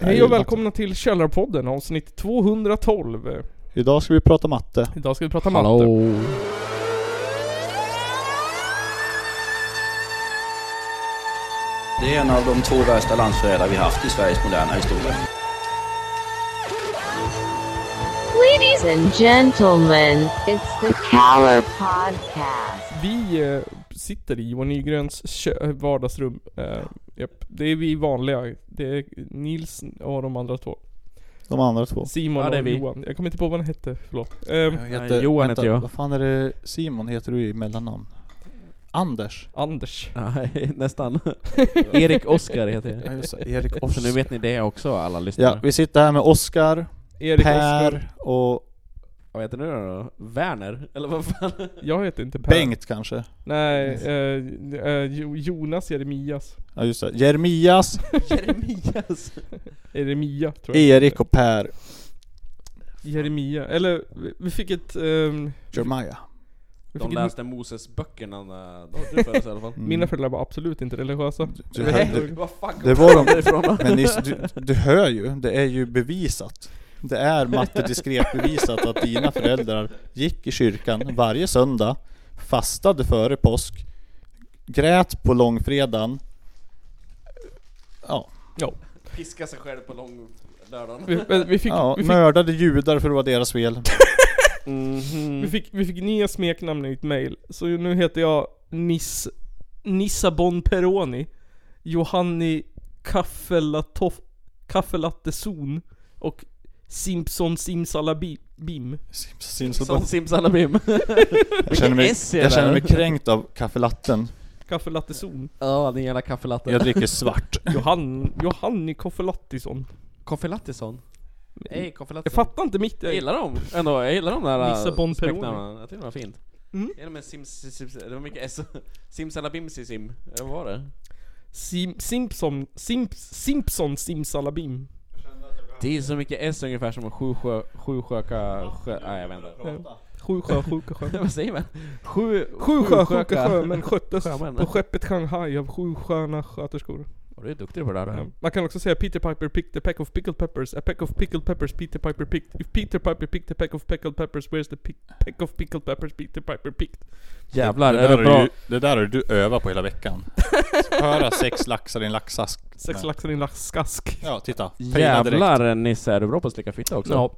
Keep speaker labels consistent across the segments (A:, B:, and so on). A: Hej och välkomna till Källarpodden avsnitt 212.
B: Idag ska vi prata matte.
A: Idag ska vi prata matte.
C: Hallå!
D: Det är en av de två värsta landsförrädare vi haft i Sveriges moderna historia.
E: Ladies and gentlemen, it's the Caller Podcast.
A: Vi eh, sitter i Johan Nygrens kö- vardagsrum. Eh, japp. Det är vi vanliga. Det är Nils och de andra två.
B: De andra två.
A: Simon
C: Ja, det är
A: och
C: vi.
A: Johan. Jag kommer inte på vad han hette, förlåt. Eh,
C: heter- Johan heter jag.
B: Vad fan är det Simon heter du i mellannamn? Anders.
A: Anders.
C: Nej, nästan. Erik Oskar heter jag.
B: Ja just det, Erik
C: Så nu
B: Oskar.
C: vet ni det också alla lyssnare.
B: Ja, vi sitter här med Oskar,
A: Erik Oskar.
B: Per och
C: Vad heter du då? Werner? Eller vad fan?
A: Jag heter inte Per.
B: Bengt kanske.
A: Nej, eh, eh, Jo- Jonas Jeremias.
B: Ja just det. Jeremias,
C: Jeremias?
A: Eremia tror jag.
B: Erik och Per.
A: Jeremia. Eller, vi- vi fick ett... ehm,
B: Jeremiah.
A: vi
C: De
A: fick ett
C: läste Moses-böckerna när de var för oss i alla fall.
B: Mm.
A: mina föräldrar var absolut inte religiösa.
B: Du,
A: Nej.
B: du,
C: Vad fan
B: det var de.
C: ifrån då?
B: men ni, du, du hör ju, det är ju bevisat. Det är mattediskret bevisat att dina föräldrar gick i kyrkan varje söndag, fastade före påsk, grät på långfredagen. Ja.
C: Piska sig själv på långdörren.
A: Vi, men vi, fick,
B: ja,
A: vi, fick,
B: mördade judar för att vara deras fel. Mhm.
A: vi, fick, vi fick nya smeknamn i ett mail. Så nu heter jag Nis, Nissabon Peroni, Johanni Kaffelatoff, Kaffelattezon och Simpson Simsalabim.
B: Sims-
C: Som
B: Simsalabim.
C: simsalabim.
B: Jag känner mig,
C: S är
B: jag
C: det?
B: känner mig kränkt av kaffelatten.
A: Kaffelattezon.
C: Ja, din jävla kaffelatte.
B: Jag dricker svart.
A: Johan, Johanni Kaffelattisson.
C: Kaffelattisson? Nej, kaffelattisson.
A: Jag fattar inte mitt...
C: Jag gillar dem ändå, jag gillar de där
A: Vissa
C: äh,
A: Bon Peroni.
C: smeknamnen. Jag tycker det var fint.
A: Mm.
C: Jag gillar med sim, sim, sim, det var mycket S. Simsalabimsisim, Ja, vad var det?
A: Sim, Simpson, Simp, Simpson Simsalabim.
C: Det är så mycket S ungefär som sju sjö, sju sjöka, sjö, nej jag vet inte.
A: Sju sjö, sjuka sjö.
C: Vad säger man? Sju,
A: Sju sjö, sjuka sjömän sköttes
C: Sjömän.
A: på skeppet Shanghai av sju sköna sköterskor.
C: Och Du är duktig på det där.
A: Ja. Mm. Man kan också säga Peter Piper picked a peck of pickled peppers, a peck of pickled peppers Peter Piper picked. If Peter Piper picked a peck of pickled peppers, where's the pick, peck of pickled peppers Peter Piper picked?
C: Jävlar,
B: det,
C: är
B: där
C: det
B: har
C: bra?
B: du, det där har du övat på hela veckan. Höra sex laxar i en laxask.
A: Sex
B: Men-
A: laxar i en laxkask.
B: Ja, titta. Pejla direkt.
C: Jävlar Nisse, är du bra på att slicka fitta också?
A: Ja.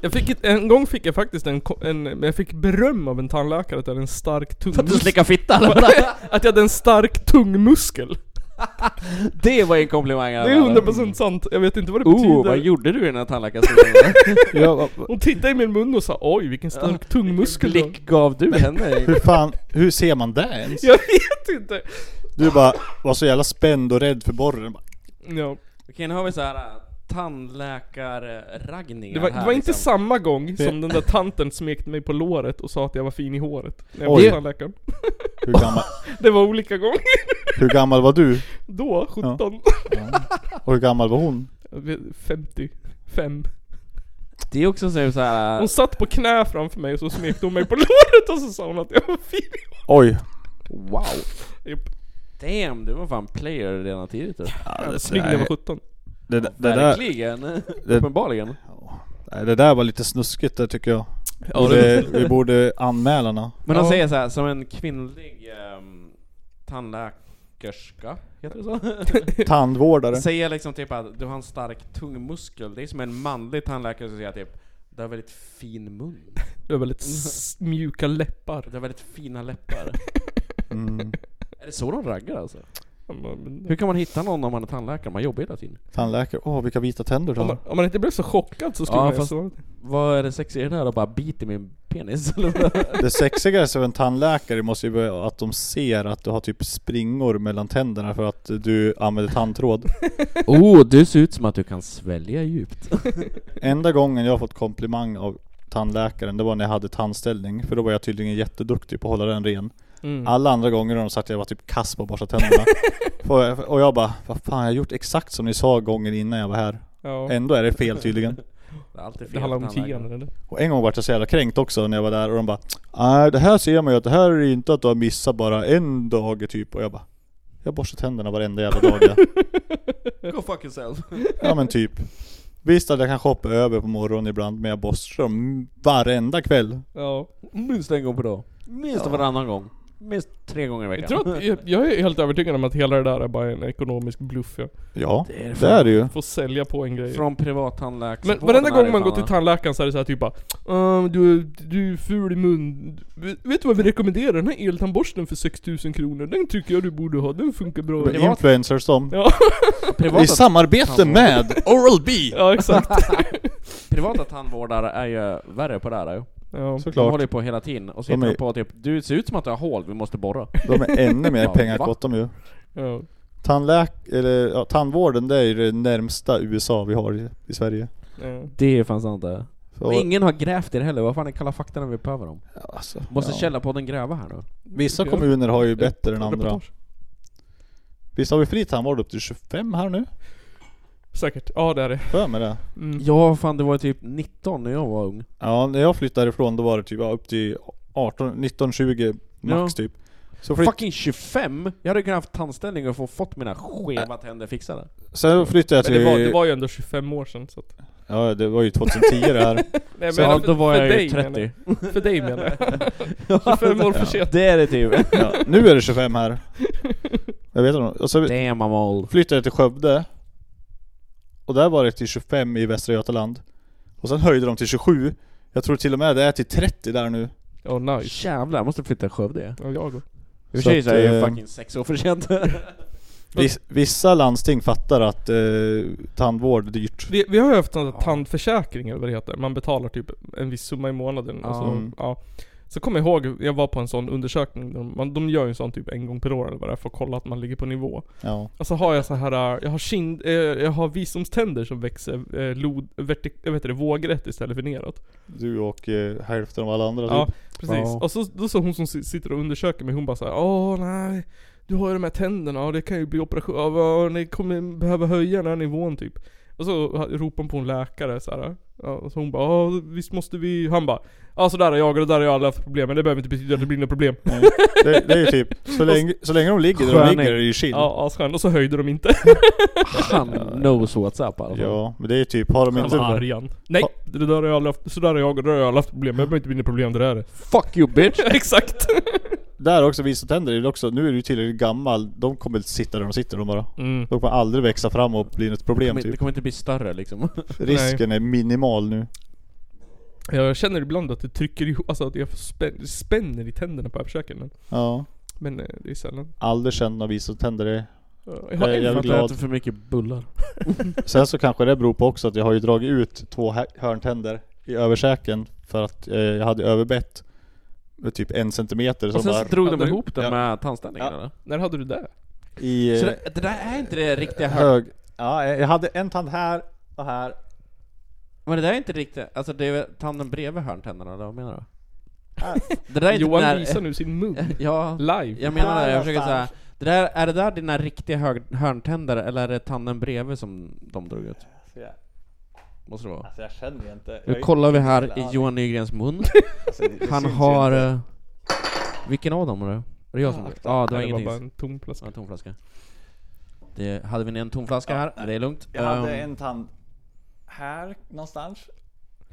A: Jag fick ett, en gång fick jag faktiskt en, ko- en, men jag fick beröm av en tandläkare att jag hade en stark
C: För att du
A: tungmuskel.
C: slickar fitta eller vadå?
A: Att jag hade en stark tungmuskel.
C: Det var ju en komplimang
A: Det är 100% sant. Jag vet inte vad det
C: Oh, vad
A: betyder.
C: gjorde du i den här tandläkarstolen?
B: Ja, va- va-
A: Hon tittade i min mun och sa oj vilken stark tungmuskel du har.
C: Blick gav du henne?
B: hur fan, hur ser man det ens?
A: Jag vet inte.
B: Du bara var så jävla spänd och rädd för borren. Bara,
A: Ja.
C: Okej, nu har vi så här äh, tandläkarraggningar
A: Det var,
C: här,
A: det var inte
C: liksom.
A: samma gång som den där tanten smekte mig på låret och sa att jag var fin i håret. När jag var
B: Oj.
A: hos tandläkaren.
B: Hur gammal,
A: Det var olika gånger.
B: hur gammal var du?
A: Då, 17.
B: Och hur gammal var hon?
A: Jag vet, 55.
C: Det är också så så här. äh,
A: Hon satt på knä framför mig och så smekte hon mig på låret och så sa hon att jag var fin i håret.
B: Oj.
C: wow.
A: Japp.
C: Damn, du var fan player redan tidigt du.
B: Ja, det,
A: Snygg när jag var 17.
B: det, det, där,
C: typ. Verkligen. Uppenbarligen.
B: nej, det där var lite snuskigt där tycker jag. Borde, vi borde anmäla nå.
C: Men
A: Ja.
C: hon säger så här som en kvinnlig ehm, tandläkerska, heter det så?
B: Tandvårdare.
C: säger liksom typ att du har en stark tungmuskel. Det är som en manlig tandläkare som säger typ du har väldigt fin mun.
A: Du har väldigt s- mjuka läppar.
C: Du har väldigt fina läppar.
B: Mm.
C: är det så de raggar alltså?
A: Ja, men-
C: Hur kan man hitta någon om man är tandläkare? Man jobbar hela tiden.
B: Tandläkare. Åh, vilka vita tänder du
A: Om man,
B: har.
A: om man inte blev så chockad så skulle
C: Ja,
A: man ju
C: fast-
A: så.
C: Vad är det sexiga i det här att bara bita i min penis? eller vad?
B: Det sexigaste för en tandläkare måste ju vara att de ser att du har typ springor mellan tänderna för att du använder tandtråd.
C: oh, du ser ut som att du kan svälja djupt.
B: Enda gången jag har fått komplimang av tandläkaren, det var när jag hade tandställning. För då var jag tydligen jätteduktig på att hålla den ren.
A: Mm.
B: Alla andra gånger har de sagt att jag var typ kass på att borsta tänderna. och, och jag bara, vad fan jag har gjort exakt som ni sa gången innan jag var här.
A: Ja.
B: Ändå är det fel tydligen.
C: Det är alltid fel
A: Det handlar om
C: tandläkare.
A: tian eller?
B: Och en gång vart jag så jävla kränkt också när jag var där och de bara Nej det här ser man ju att det här är ju inte att du har missat bara en dag typ och jag bara Jag borstar tänderna varenda jävla dag jag.
C: Go fuck yourself.
B: Ja men typ. Visst att jag kanske hoppar över på morgonen ibland men jag borstar dem varenda kväll.
A: Ja.
C: Minst en gång per dag. Minst varannan gång. Minst tre gånger i veckan.
A: Jag, tror att, jag, jag är helt övertygad om att hela det där är bara en ekonomisk bluff. Jag
B: Ja,
C: Det är det
B: det är det ju.
A: får sälja på en grej.
C: Från privattandläkaren.
A: Men varenda gång man går till tandläkaren så är det så här typ bara "Ehm, du, du är ful i mun. Vet- Vet du vad vi rekommenderar? Den här eltandborsten för 6000 kronor. Den tycker jag du borde ha. Den funkar bra.
B: Med Influencers som.
A: Ja,
B: I
C: privata,
B: samarbete med Oral-B!
A: ja exakt.
C: privata tandvårdare är ju värre på det här ju.
A: Ja.
C: De
B: Såklart.
C: håller ju på hela tiden och
B: De
C: sitter
B: är-
C: och på typ Du ser ut som att du har hål, vi måste borra.
B: De är ännu mer
C: Ja,
B: pengakåt de ju.
A: Ja.
B: Tandläk... Eller ja, tandvården det är ju det närmsta USA vi har i, i Sverige.
A: Ja.
C: Det är fan sant det.
B: Så,
C: Och ingen har grävt i det heller, vad fan är Kalla fakta när vi behöver dem?
B: ja, alltså,
C: Måste
B: ja.
C: Källarpodden gräva här nu?
B: Vissa kommuner har ju bättre än andra.
A: Reportage.
B: Visst har vi fri tandvård upp till 25 här nu?
A: Säkert. Ja det är det.
B: För med det.
A: Mm.
C: Ja fan det var typ 19 när jag var ung.
B: Ja, när jag flyttade ifrån då var det typ ja, upp till 18, 19, 20 max typ. Så flytt,
C: Fucking 25! Jag hade kunnat haft tandställning och få fått mina skeva
B: Äh.
C: tänder fixade.
B: sen flyttade jag
A: Men
B: till...
A: det var, det var ju ändå 25 år sedan så att...
B: Ja, det var ju 2010 det här.
A: Nej,
C: Så ja,
A: för-
C: då var
A: för
C: jag ju
A: dig menar
C: 30.
A: jag. För dig menar jag. 25 år för sent.
C: Det är det typ.
B: Ja, nu är det 25 här. Jag vet inte. Och så
C: Damn I'm old.
B: flyttade jag till Skövde. Och där var det till 25 i Västra Götaland. Och sen höjde de till 27. Jag tror till och med det är till 30 där nu.
A: Ja nice.
C: Jävlar, jag måste flytta till Skövde.
A: Ja, jag går.
C: I och för sig
B: Så
C: så
B: att,
C: är jag ju
B: eh,
C: fucking sex år för sent.
B: Vis- Vissa landsting fattar att eh, tandvård är dyrt.
A: Vi, vi har ju haft sån
C: Ja.
A: tandförsäkring eller vad det heter. Man betalar typ en viss summa i månaden. Och så,
B: Mm.
A: ja. så kommer jag ihåg, jag var på en sån undersökning. De, man, de gör ju en sån typ en gång per år eller vad det är för att kolla att man ligger på nivå.
B: Ja.
A: Och så har jag så här, äh, jag har kind, eh, jag har visdomständer som växer eh, lod, vertik, jag vet inte, vågrätt istället för neråt.
B: Du och eh, hälften av alla andra
A: Ja,
B: typ.
A: precis.
C: Ja.
A: Och så, då så hon som si- sitter och undersöker mig, hon bara så här, åh nej. Du har ju de här tänderna och det kan ju bli operation, ja, vad- ni kommer behöva höja den här nivån typ. Och så ropar hon på en läkare så här. Ja, och så hon bara "Ja, visst måste vi... Han bara Ja så där är jag och det där är jag alla haft problem men det behöver inte betyda att det blir några problem. Ja,
B: Det, det är ju typ, så länge, så länge de ligger där de
C: Sköning.
B: ligger är det ju chill. Ja.
A: ja asskön. Och så höjde de inte.
C: Han knows what's up alltså. i alla fall.
B: men det är ju typ, har de
A: Han var
B: inte...
A: arg igen. Nej! Det där har jag aldrig haft, så där är jag och det där har jag aldrig haft problem men det behöver inte bli några problem det där är.
C: Fuck you bitch!
A: Exakt!
B: Där också, vissa tänder är det också, nu är du tillräckligt gammal, de kommer sitta där de sitter de bara.
A: Mm.
B: De kommer aldrig växa fram och bli något
C: Det
B: problem
C: kommer, inte- det
B: typ.
C: kommer inte bli större liksom.
B: Risken är minimal nu.
A: Jag känner ibland att det trycker ihop, alltså att jag får spän, spänner i tänderna på försöken men,
B: Ja.
A: men eh, det är sällan.
B: Aldrig känt några vissa tänder är.
A: Ja, Jag har
B: Eh,
A: en-
B: jag- är
C: För att
B: glad.
C: jag äter för mycket bullar.
B: Sen så kanske det beror på också att jag har ju dragit ut två hä- hörntänder i översäken för att eh, jag hade överbett med typ en centimeter som
C: Och sen
B: bara
C: så drog
A: Ja,
C: de
A: det-
C: ihop
B: ja.
C: den med tandställningen
B: Ja.
C: eller?
A: När hade du det?
B: i
C: Så
B: eh,
C: det, det där är inte det riktiga hör...
B: hög... Ja, eh, jag hade en tand här och här.
C: Men det där är inte riktigt... Alltså det är väl tanden bredvid hörntänderna eller vad menar du?
B: här.
C: Det där är inte
A: Johan
C: typ när-
A: visar nu sin mun.
C: Ja,
A: Live.
C: jag menar det.
B: Här
C: Jag försöker säga...
B: någonstans.
C: Det där, är det där dina riktiga hör, hörntänder eller är det tanden bredvid som de drog ut?
B: Så Alltså, jag-
C: Måste det vara.
B: Alltså jag känner ju inte.
C: Nu
B: Jag-
C: kollar vi här i
B: aldrig.
C: Johan Nygrens mun.
B: alltså, det- det
C: Han
B: syns ju
C: har...
B: inte.
C: eh, Vilken av dem är det? Är det jag som... Ja, ah, det var
A: Nej, det var
C: ingenting.
A: bara en tom
C: Ja,
A: flaska.
C: en tom flaska. Det, hade vi en tom flaska här, men det är lugnt.
B: Jag hade
C: Ehm,
B: en tand här någonstans.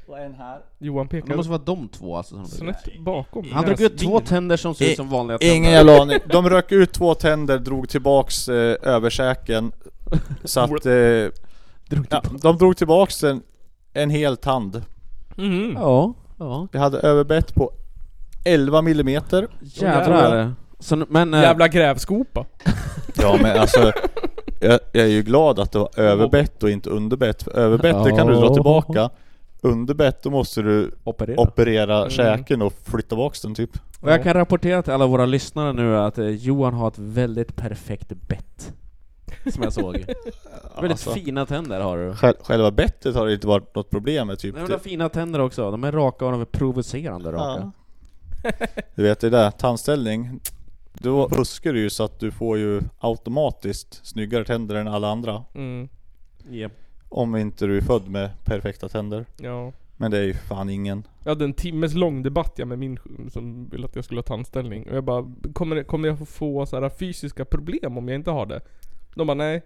B: Och en här.
A: Johan
C: Det
A: pekar
C: måste vara de två alltså som de
A: snett bakom.
C: Han drog ut två tänder som ser ut som vanliga tänder.
B: Ingen jävla aning. De rök ut två tänder, drog tillbaks eh, översäken. Så att... Eh, ja, de drog tillbaks en, en hel tand.
A: Mm.
C: Ja, ja.
B: Jag hade överbett på 11 millimeter.
C: Jävlar. Så, nu- men... eh,
A: Jävla grävskopa.
B: Ja men alltså... Jag, jag är ju glad att det var överbett och inte underbett. För överbett det kan du dra tillbaka. Underbett då måste du
C: Operera.
B: operera
C: Mm.
B: käken och flytta tillbaka den typ.
C: Och jag kan rapportera till alla våra lyssnare nu att eh, Johan har ett väldigt perfekt bett. Som jag såg. väldigt
B: Alltså,
C: fina tänder har du.
B: själ- Själva bettet har det inte varit något problem med typ.
C: Nej, men de har fina tänder också. De är raka och de är provocerande raka.
B: Du vet det där, tandställning. Då fuskar du ju så att du får ju automatiskt snyggare tänder än alla andra.
A: Mm.
C: Yep.
B: Om inte du är född med perfekta tänder.
A: Ja.
B: Men det är ju fan ingen.
A: Jag hade en timmes lång debatt jag med min sj- som ville att jag skulle ha tandställning. Och jag bara, kommer, kommer jag få så här fysiska problem om jag inte har det? De bara nej.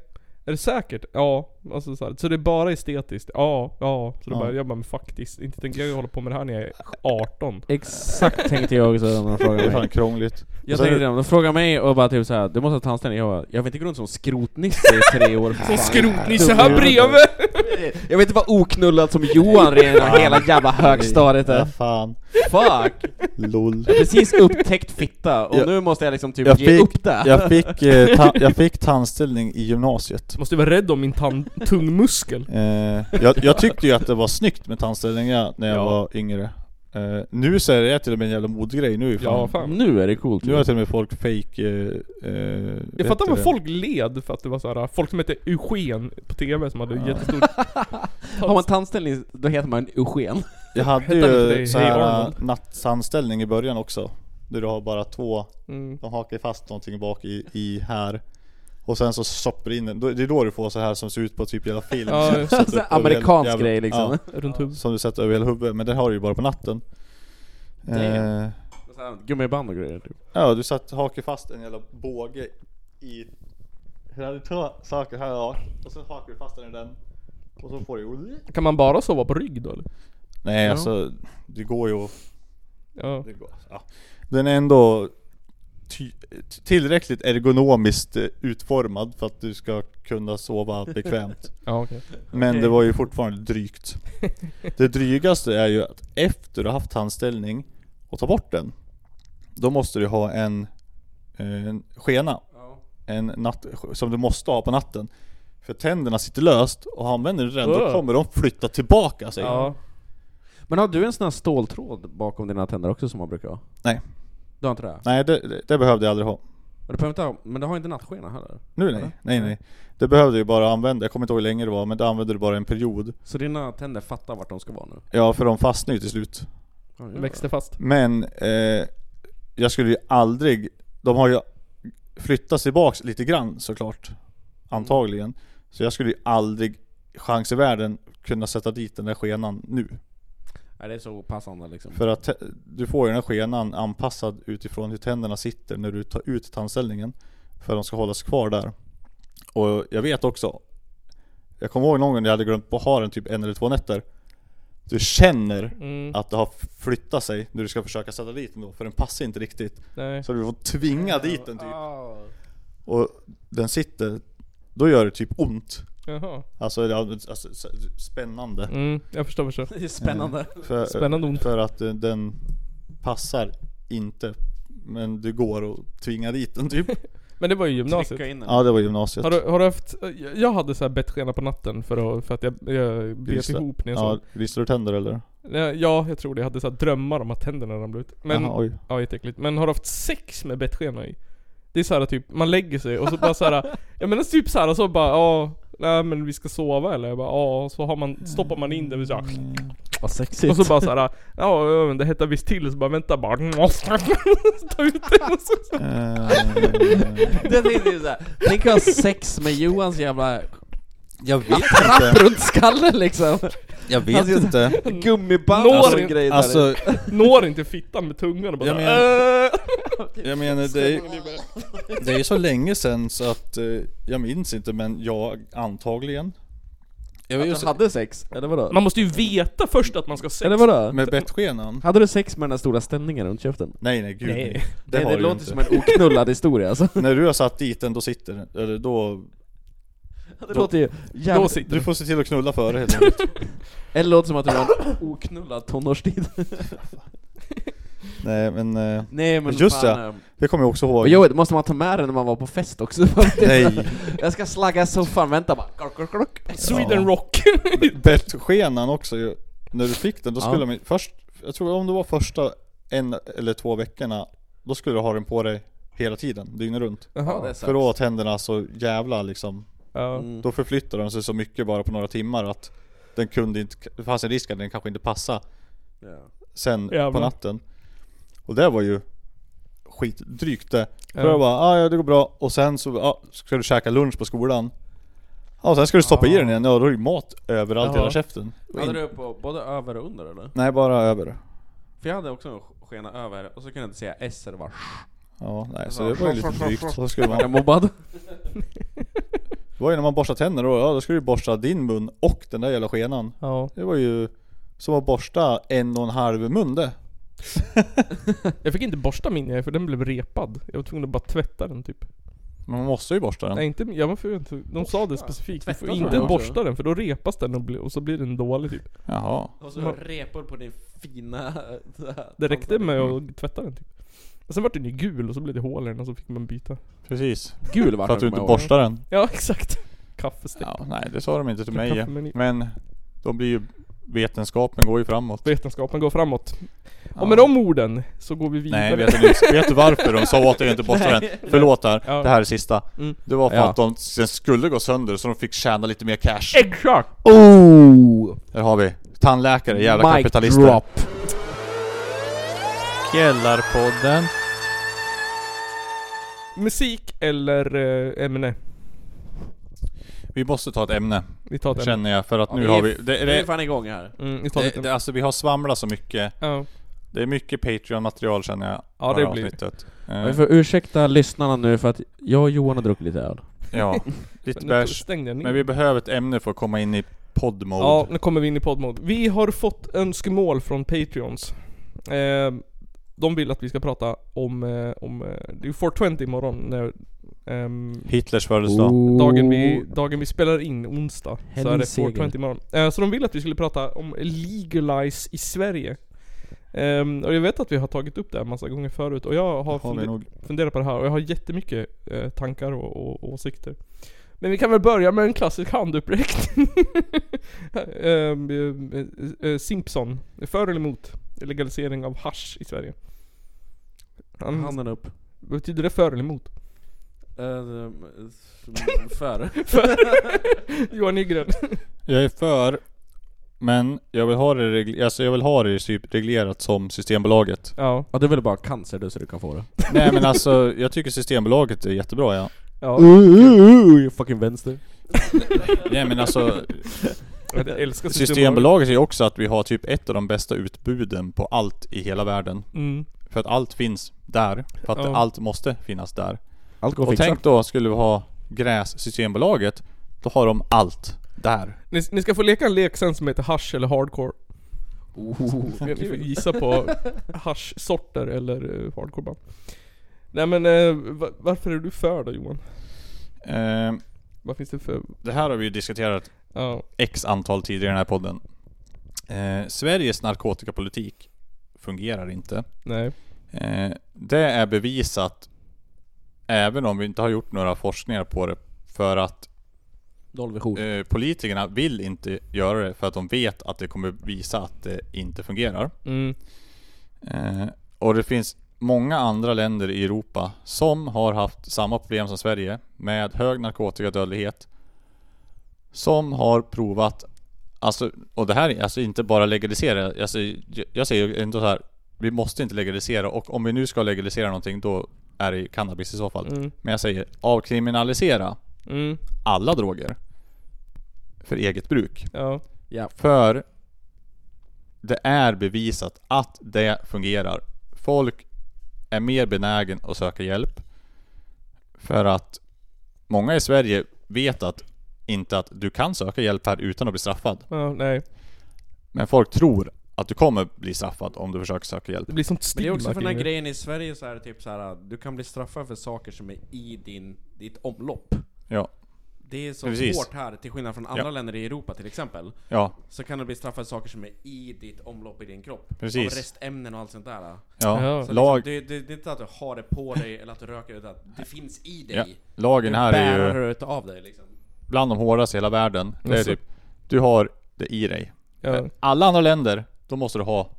A: Är det säkert? Ja. Alltså så, här, så det är bara estetiskt? Ja, ja. Så då
B: Ja.
A: bara, jag bara, men faktiskt. Inte tänker jag hålla på med det här när jag är 18.
C: Exakt tänkte jag också när de
B: Det är
C: frågade mig.
B: fan Alltså- krångligt.
C: Jag
B: Och sen-
C: tänkte det, om de frågar mig och bara typ såhär, du måste ha tandställning. Jag bara, jag vill inte gå runt som skrotnisse i tre år. för
A: Som
C: fan.
A: skrotnisse här bredvid!
C: Jag vill inte vara oknullad som Johan redan hela jävla högstadiet
B: Ja,
C: där.
B: fan.
C: Fuck!
B: LOL.
C: Precis upptäckt fitta och
B: Jag-
C: nu måste jag liksom typ
B: Jag
C: ge
B: fick-
C: upp det.
B: Jag fick, eh, ta- jag fick tandställning i gymnasiet.
A: Måste vara rädd om min tand- tungmuskel.
B: Eh, jag, jag tyckte ju att det var snyggt med tandställningar när jag
A: Ja.
B: var yngre. Eh, nu så är det till och med en jävla modegrej nu. Fan.
A: Ja, fan.
C: Nu är det coolt.
B: Nu har till och med folk fake... Eh, eh,
A: Jag fattar
B: vad
A: vad folk led för att det var såhär, folk som hette Eugen på TV som hade
B: Ja.
A: jättestor...
C: Har man tandställning, då heter man Eugen.
B: Jag hade
A: Hette han inte
B: ju
A: det?
B: så
A: Hey
B: här
A: Arnold. jag...
B: nattsanställning i början också. Där du har bara två,
A: Mm.
B: de hakar fast någonting bak i, i här. Och sen så soppar in den. Då- Det är då du får så här som ser ut på typ jävla film.
A: Ja,
B: Som du
A: just
B: sätter
C: Så här
B: upp över
C: amerikansk
B: hela-
C: grej liksom.
B: Ja,
A: Runt huvudet.
B: som du sätter över hela huvudet. Men det har du ju bara på natten.
C: Det-
B: Eh,
C: Så här, Gummiband och grejer. Typ.
B: ja, du satt hakar fast en jävla båge i... Du hade två saker här ja. Och så hakar du fast den i den. Och så får du...
A: Kan man bara sova på rygg då eller?
B: Nej alltså, det går ju att
A: Ja.
B: Det går, ja. Den är ändå ty- t- tillräckligt ergonomiskt eh, utformad för att du ska kunna sova bekvämt.
A: Ja okej.
B: Men
C: Okej.
B: det var ju fortfarande drygt. Det drygaste är ju att efter du har haft handställning och tar bort den, då måste du ha en, eh, en skena. En natt, som du måste ha på natten. För tänderna sitter löst och använder du den då
A: Åh.
B: kommer de flytta tillbaka sig.
A: Ja.
C: Men har du en sån här ståltråd bakom dina tänder också som man brukar ha?
B: Nej.
C: Du har inte det?
B: Nej, det, det, det behövde jag aldrig ha.
C: Men du behöver inte ha, men du har inte nattskena heller?
B: Nu nej, nej nej. Det behövde ju bara använda, jag kommer inte ihåg hur länge det var, men det använde du bara en period.
C: Så dina tänder fattar vart de ska vara nu?
B: Ja, för de fastnade ju till slut.
C: Ja,
A: Den
C: ja.
A: Växte fast.
B: Men eh, jag skulle ju aldrig, de har ju flyttat tillbaks lite grann såklart. Antagligen. Så jag skulle ju aldrig, chans i världen, kunna sätta dit den där skenan nu.
C: Nej, det är så passande liksom.
B: För att te- du får ju den här skenan anpassad utifrån hur tänderna sitter när du tar ut tandställningen. För att de ska hållas kvar där. Och jag vet också. Jag kommer ihåg någon gång när jag hade glömt på att ha den typ en eller två nätter. Du känner
A: Mm.
B: att det har flyttat sig när du ska försöka sätta dit den då. För den passar inte riktigt.
A: Nej. Ah.
B: Så du får tvinga dit den typ. Och den sitter. Då gör det typ ont.
A: Jaha.
B: Alltså, ja, alltså s- spännande.
A: Mm. Jag förstår förstår.
C: Det är spännande.
B: För,
A: Spännande ont.
B: För att eh, den passar inte. Men du går och tvingar dit den typ.
A: Men det var ju gymnasiet.
C: Trycka in den.
B: Ja det var gymnasiet.
A: Har du, har du haft, jag- jag hade så här bettskena på natten för, att, för att jag, jag bet
B: Just det.
A: ihop när jag
B: ja,
A: sov.
B: visste du tänder eller?
A: Nej, Ja, jag tror det. Jag hade så här drömmar om att tänderna ramlade ut. Men,
B: Jaha, oj.
A: ja jätteäckligt. Men har du haft sex med bettskena i? Det är så här typ, man lägger sig och så bara så här. jag menar typ så här så bara ja, nej men vi ska sova eller? Jag bara ja, och så har man, stoppar man in det och så här,
C: Vad sexigt.
A: Och så bara såhär, ja ja, men det hettar visst till, så bara vänta bara Ta ut det och så, så.
B: Eh,
C: det tänkte jag såhär, tänk att ha sex med Johans jävla
B: jag vet inte.
C: runt skallen liksom.
B: Jag vet
C: Alltså,
B: inte.
C: Gummiband
A: Når
C: och sån
A: in-
C: grej där.
B: Alltså,
A: Når inte fittan med tungan och bara
B: Jag
A: så
B: menar-
A: här, "Äh."
B: jag menar det är, det är ju så länge sedan så att eh, jag minns inte men jag antagligen. Jag var
C: Att
B: ju
C: du
B: så-
C: hade sex, eller vadå?
A: Man måste ju veta först att man ska ha sex
C: Eller vadå?
B: med bettskenan.
C: Hade du sex med den där stora ställningen runt käften?
B: Nej nej gud
A: Nej.
B: nej. Det,
C: Det,
B: har
C: det
B: du ju
C: låter
B: inte.
C: som en oknullad historia alltså.
B: När du har satt dit den då sitter den. Eller då
C: Det låter ju
A: Då
C: jävligt...
A: sitter
B: Du
A: du
B: får se till att knulla före helt enkelt.
C: Eller låter som att du har en oknullad tonårstid.
B: Nej men, eh,
C: Nej men
B: Just
C: fan,
B: det.
C: eh,
B: det kommer jag också
C: Och
B: ihåg.
C: jo, det måste man ta med den när man var på fest också?
B: Nej,
C: jag ska slagga i soffan, vänta bara. Klok, klok, klok.
A: Sweden Rock
B: bettskenan också ju. När du fick den, då skulle
C: Ja.
B: man först, jag tror om det var första en eller två veckorna, då skulle du ha den på dig hela tiden, dygnet runt.
C: Ja, det är
B: För
C: sant.
B: då var tänderna så jävla liksom,
A: ja.
B: då förflyttade de sig så mycket bara på några timmar att den kunde inte, det fanns en risk att den kanske inte passade
C: Ja.
B: sen på
A: Jävlar.
B: natten. Och det var ju skitdrygt det. För
A: Ja.
B: jag bara, ah, ja det går bra. Och sen så ah, ska du käka lunch på skolan. Ja, och sen ska du stoppa i
C: Ah.
B: den igen. Ja, då är det ju mat överallt i
A: Ja.
B: hela käften. Och
C: Hade
B: in-
C: du på både över och under eller?
B: Nej, bara över.
C: För jag hade också en sk- skena över, och så kunde jag inte säga S eller bara
B: Ja, nej så det var ju lite drygt. Så skulle man,
C: mobbad.
B: var ju när man borstade tänder då, ja då skulle du borsta din mun och den där jävla skenan.
A: Ja.
B: Det var ju som att borsta en och en halv mun det.
A: Jag fick inte borsta min för den blev repad. Jag var tvungen att bara tvätta den typ.
B: Men man måste ju borsta den.
A: Nej inte, ja, man får ju inte, de sa det specifikt. Du får
C: Tvätta
A: inte
C: tror jag.
A: borsta den för då repas den och, bli, och så blir den dålig typ.
B: Jaha.
C: Och så
A: Man-
C: repor på din fina...
A: Det räckte med att tvätta den typ. Och sen vart den ju gul och så blev det hål i den och så fick man byta.
B: Precis.
C: Gul vart
B: För att du
C: den,
B: inte
C: kommer jag ihåg.
B: borstar den.
A: Ja exakt. Kaffestepp.
B: Ja, nej det sa de inte till mig.
A: Kaffemeny.
B: Men de blir ju... Vetenskapen går ju framåt.
A: Vetenskapen går framåt.
B: Ja.
A: Och med de orden så går vi vidare.
B: Nej, vet du, vet du varför de sa åt dig att inte borsta den? Förlåt här,
A: Ja.
B: det här är sista.
A: Mm.
B: Det var för
C: Ja.
B: att de sen skulle gå sönder så de fick tjäna lite mer cash.
A: Exakt!
C: Oh!
B: Där har vi. Tandläkare, jävla
C: Mic
B: kapitalister.
C: drop.
B: Källarpodden.
A: Musik eller eh, ämne?
B: Vi måste ta ett ämne,
A: Vi tar den.
B: känner jag. För att
C: Ja,
B: nu
C: vi
B: har
C: är-
B: vi... Det,
C: Vi är
B: det,
C: fan igång här.
A: Mm, vi tar
B: det,
A: det,
B: det, alltså vi har svamlat så mycket.
A: ja.
B: Det är mycket Patreon-material känner jag.
A: Ja,
B: på
A: det
B: här
A: blir det.
B: avsnittet.
C: Vi
B: Eh,
C: får ursäkta lyssnarna nu för att jag och Johan har druckit lite öl.
B: ja, lite
A: Men nu
B: bärs.
A: stängde jag ner.
B: Men vi behöver ett ämne för att komma in i poddmode.
A: Ja, nu kommer vi in i poddmode. Vi har fått önskemål från Patreons. Eh, de vill att vi ska prata om, eh, om eh, det är 420 imorgon när, ehm,
B: Hitlers födelsedag.
C: Oh.
A: dagen, vi, dagen vi spelar in, onsdag. Så är det
C: Hellens
A: 420
C: seger.
A: imorgon. Eh, så de vill att vi skulle prata om legalize i Sverige. Ehm, och jag vet att vi har tagit upp det här massa gånger förut och jag har,
B: Har vi
A: funde-
B: nog.
A: funderat på det här och jag har jättemycket eh, tankar och, och, och åsikter. Men vi kan väl börja med en klassisk handuppräckning. Ehm, eh, eh, Simpson. För eller emot legalisering av hasch i Sverige? Han,
C: Handen upp.
A: Betyder det för eller emot?
B: Eh,
C: För.
A: För. Johan Nygren.
B: Jag är för, men jag vill ha det, regl- alltså jag vill ha det typ reglerat som Systembolaget.
A: Ja.
C: Ja, du vill bara ha cancer du så du kan få det.
B: Nej men alltså, jag tycker Systembolaget är jättebra ja.
A: ja.
C: fucking vänster.
B: Nej men alltså,
A: Jag älskar
B: Systembolaget är ju också att vi har typ ett av de bästa utbuden på allt i hela världen.
A: Mm.
B: För att allt finns där. För att
A: Ja.
B: allt måste finnas där.
C: Allt går
B: Och
C: att fixa.
B: tänk då, skulle vi ha gräs Systembolaget, då har de allt där.
A: Ni, ni ska få leka en lek sen som heter hasch eller hardcore.
C: Oh,
A: Ni får gissa på haschsorter eller uh, hardcore band. Nej men eh, va- varför är du för då Johan?
B: Eh,
A: Vad finns det för...
B: det här har vi ju diskuterat
A: Ja.
B: x antal tidigare i den här podden. Eh, Sveriges narkotikapolitik fungerar inte.
A: Nej.
B: Eh, det är bevisat, även om vi inte har gjort några forskningar på det, för att
C: Nollvision.
B: eh, politikerna vill inte göra det för att de vet att det kommer visa att det inte fungerar.
A: Mm.
B: Eh, och det finns många andra länder i Europa som har haft samma problem som Sverige med hög narkotikadödlighet. Som har provat, alltså, och det här är alltså inte bara legalisera. Alltså, jag, jag säger ju ändå så här, vi måste inte legalisera och om vi nu ska legalisera någonting då är det ju cannabis i så fall.
A: Mm.
B: Men jag säger avkriminalisera
A: Mm.
B: alla droger. För eget bruk.
A: Ja.
C: Ja.
B: För det är bevisat att det fungerar. Folk är mer benägen att söka hjälp. För att många i Sverige vet att inte att du kan söka hjälp här utan att bli straffad.
A: ja. Nej.
B: Men folk tror att du kommer bli straffad om du försöker söka hjälp.
A: Det blir sånt
C: Men
A: stigma
C: det är också för den
A: kring
C: här
A: det.
C: grejen i Sverige så är det typ så här. du kan bli straffad för saker som är i din, ditt omlopp.
B: Ja.
C: Det är så
B: Precis.
C: hårt här, till skillnad från andra
B: Ja.
C: länder i Europa till exempel.
B: Ja.
C: Så kan du bli straffad för saker som är i ditt omlopp i din kropp.
B: Precis.
C: Av restämnen och allt sånt där.
A: Ja.
B: Ja.
A: Så
C: Så
B: Lag,
C: liksom, det, det, det är inte att du har det på dig eller att du röker, utan att det finns i dig.
B: ja. Lagen här
C: bärar
B: är ju
C: du ut av dig liksom.
B: bland de hårdaste i hela världen. Det är
A: Jaså.
B: typ, du har det i dig.
A: Alltså- Ja.
B: Alla andra länder, då måste du ha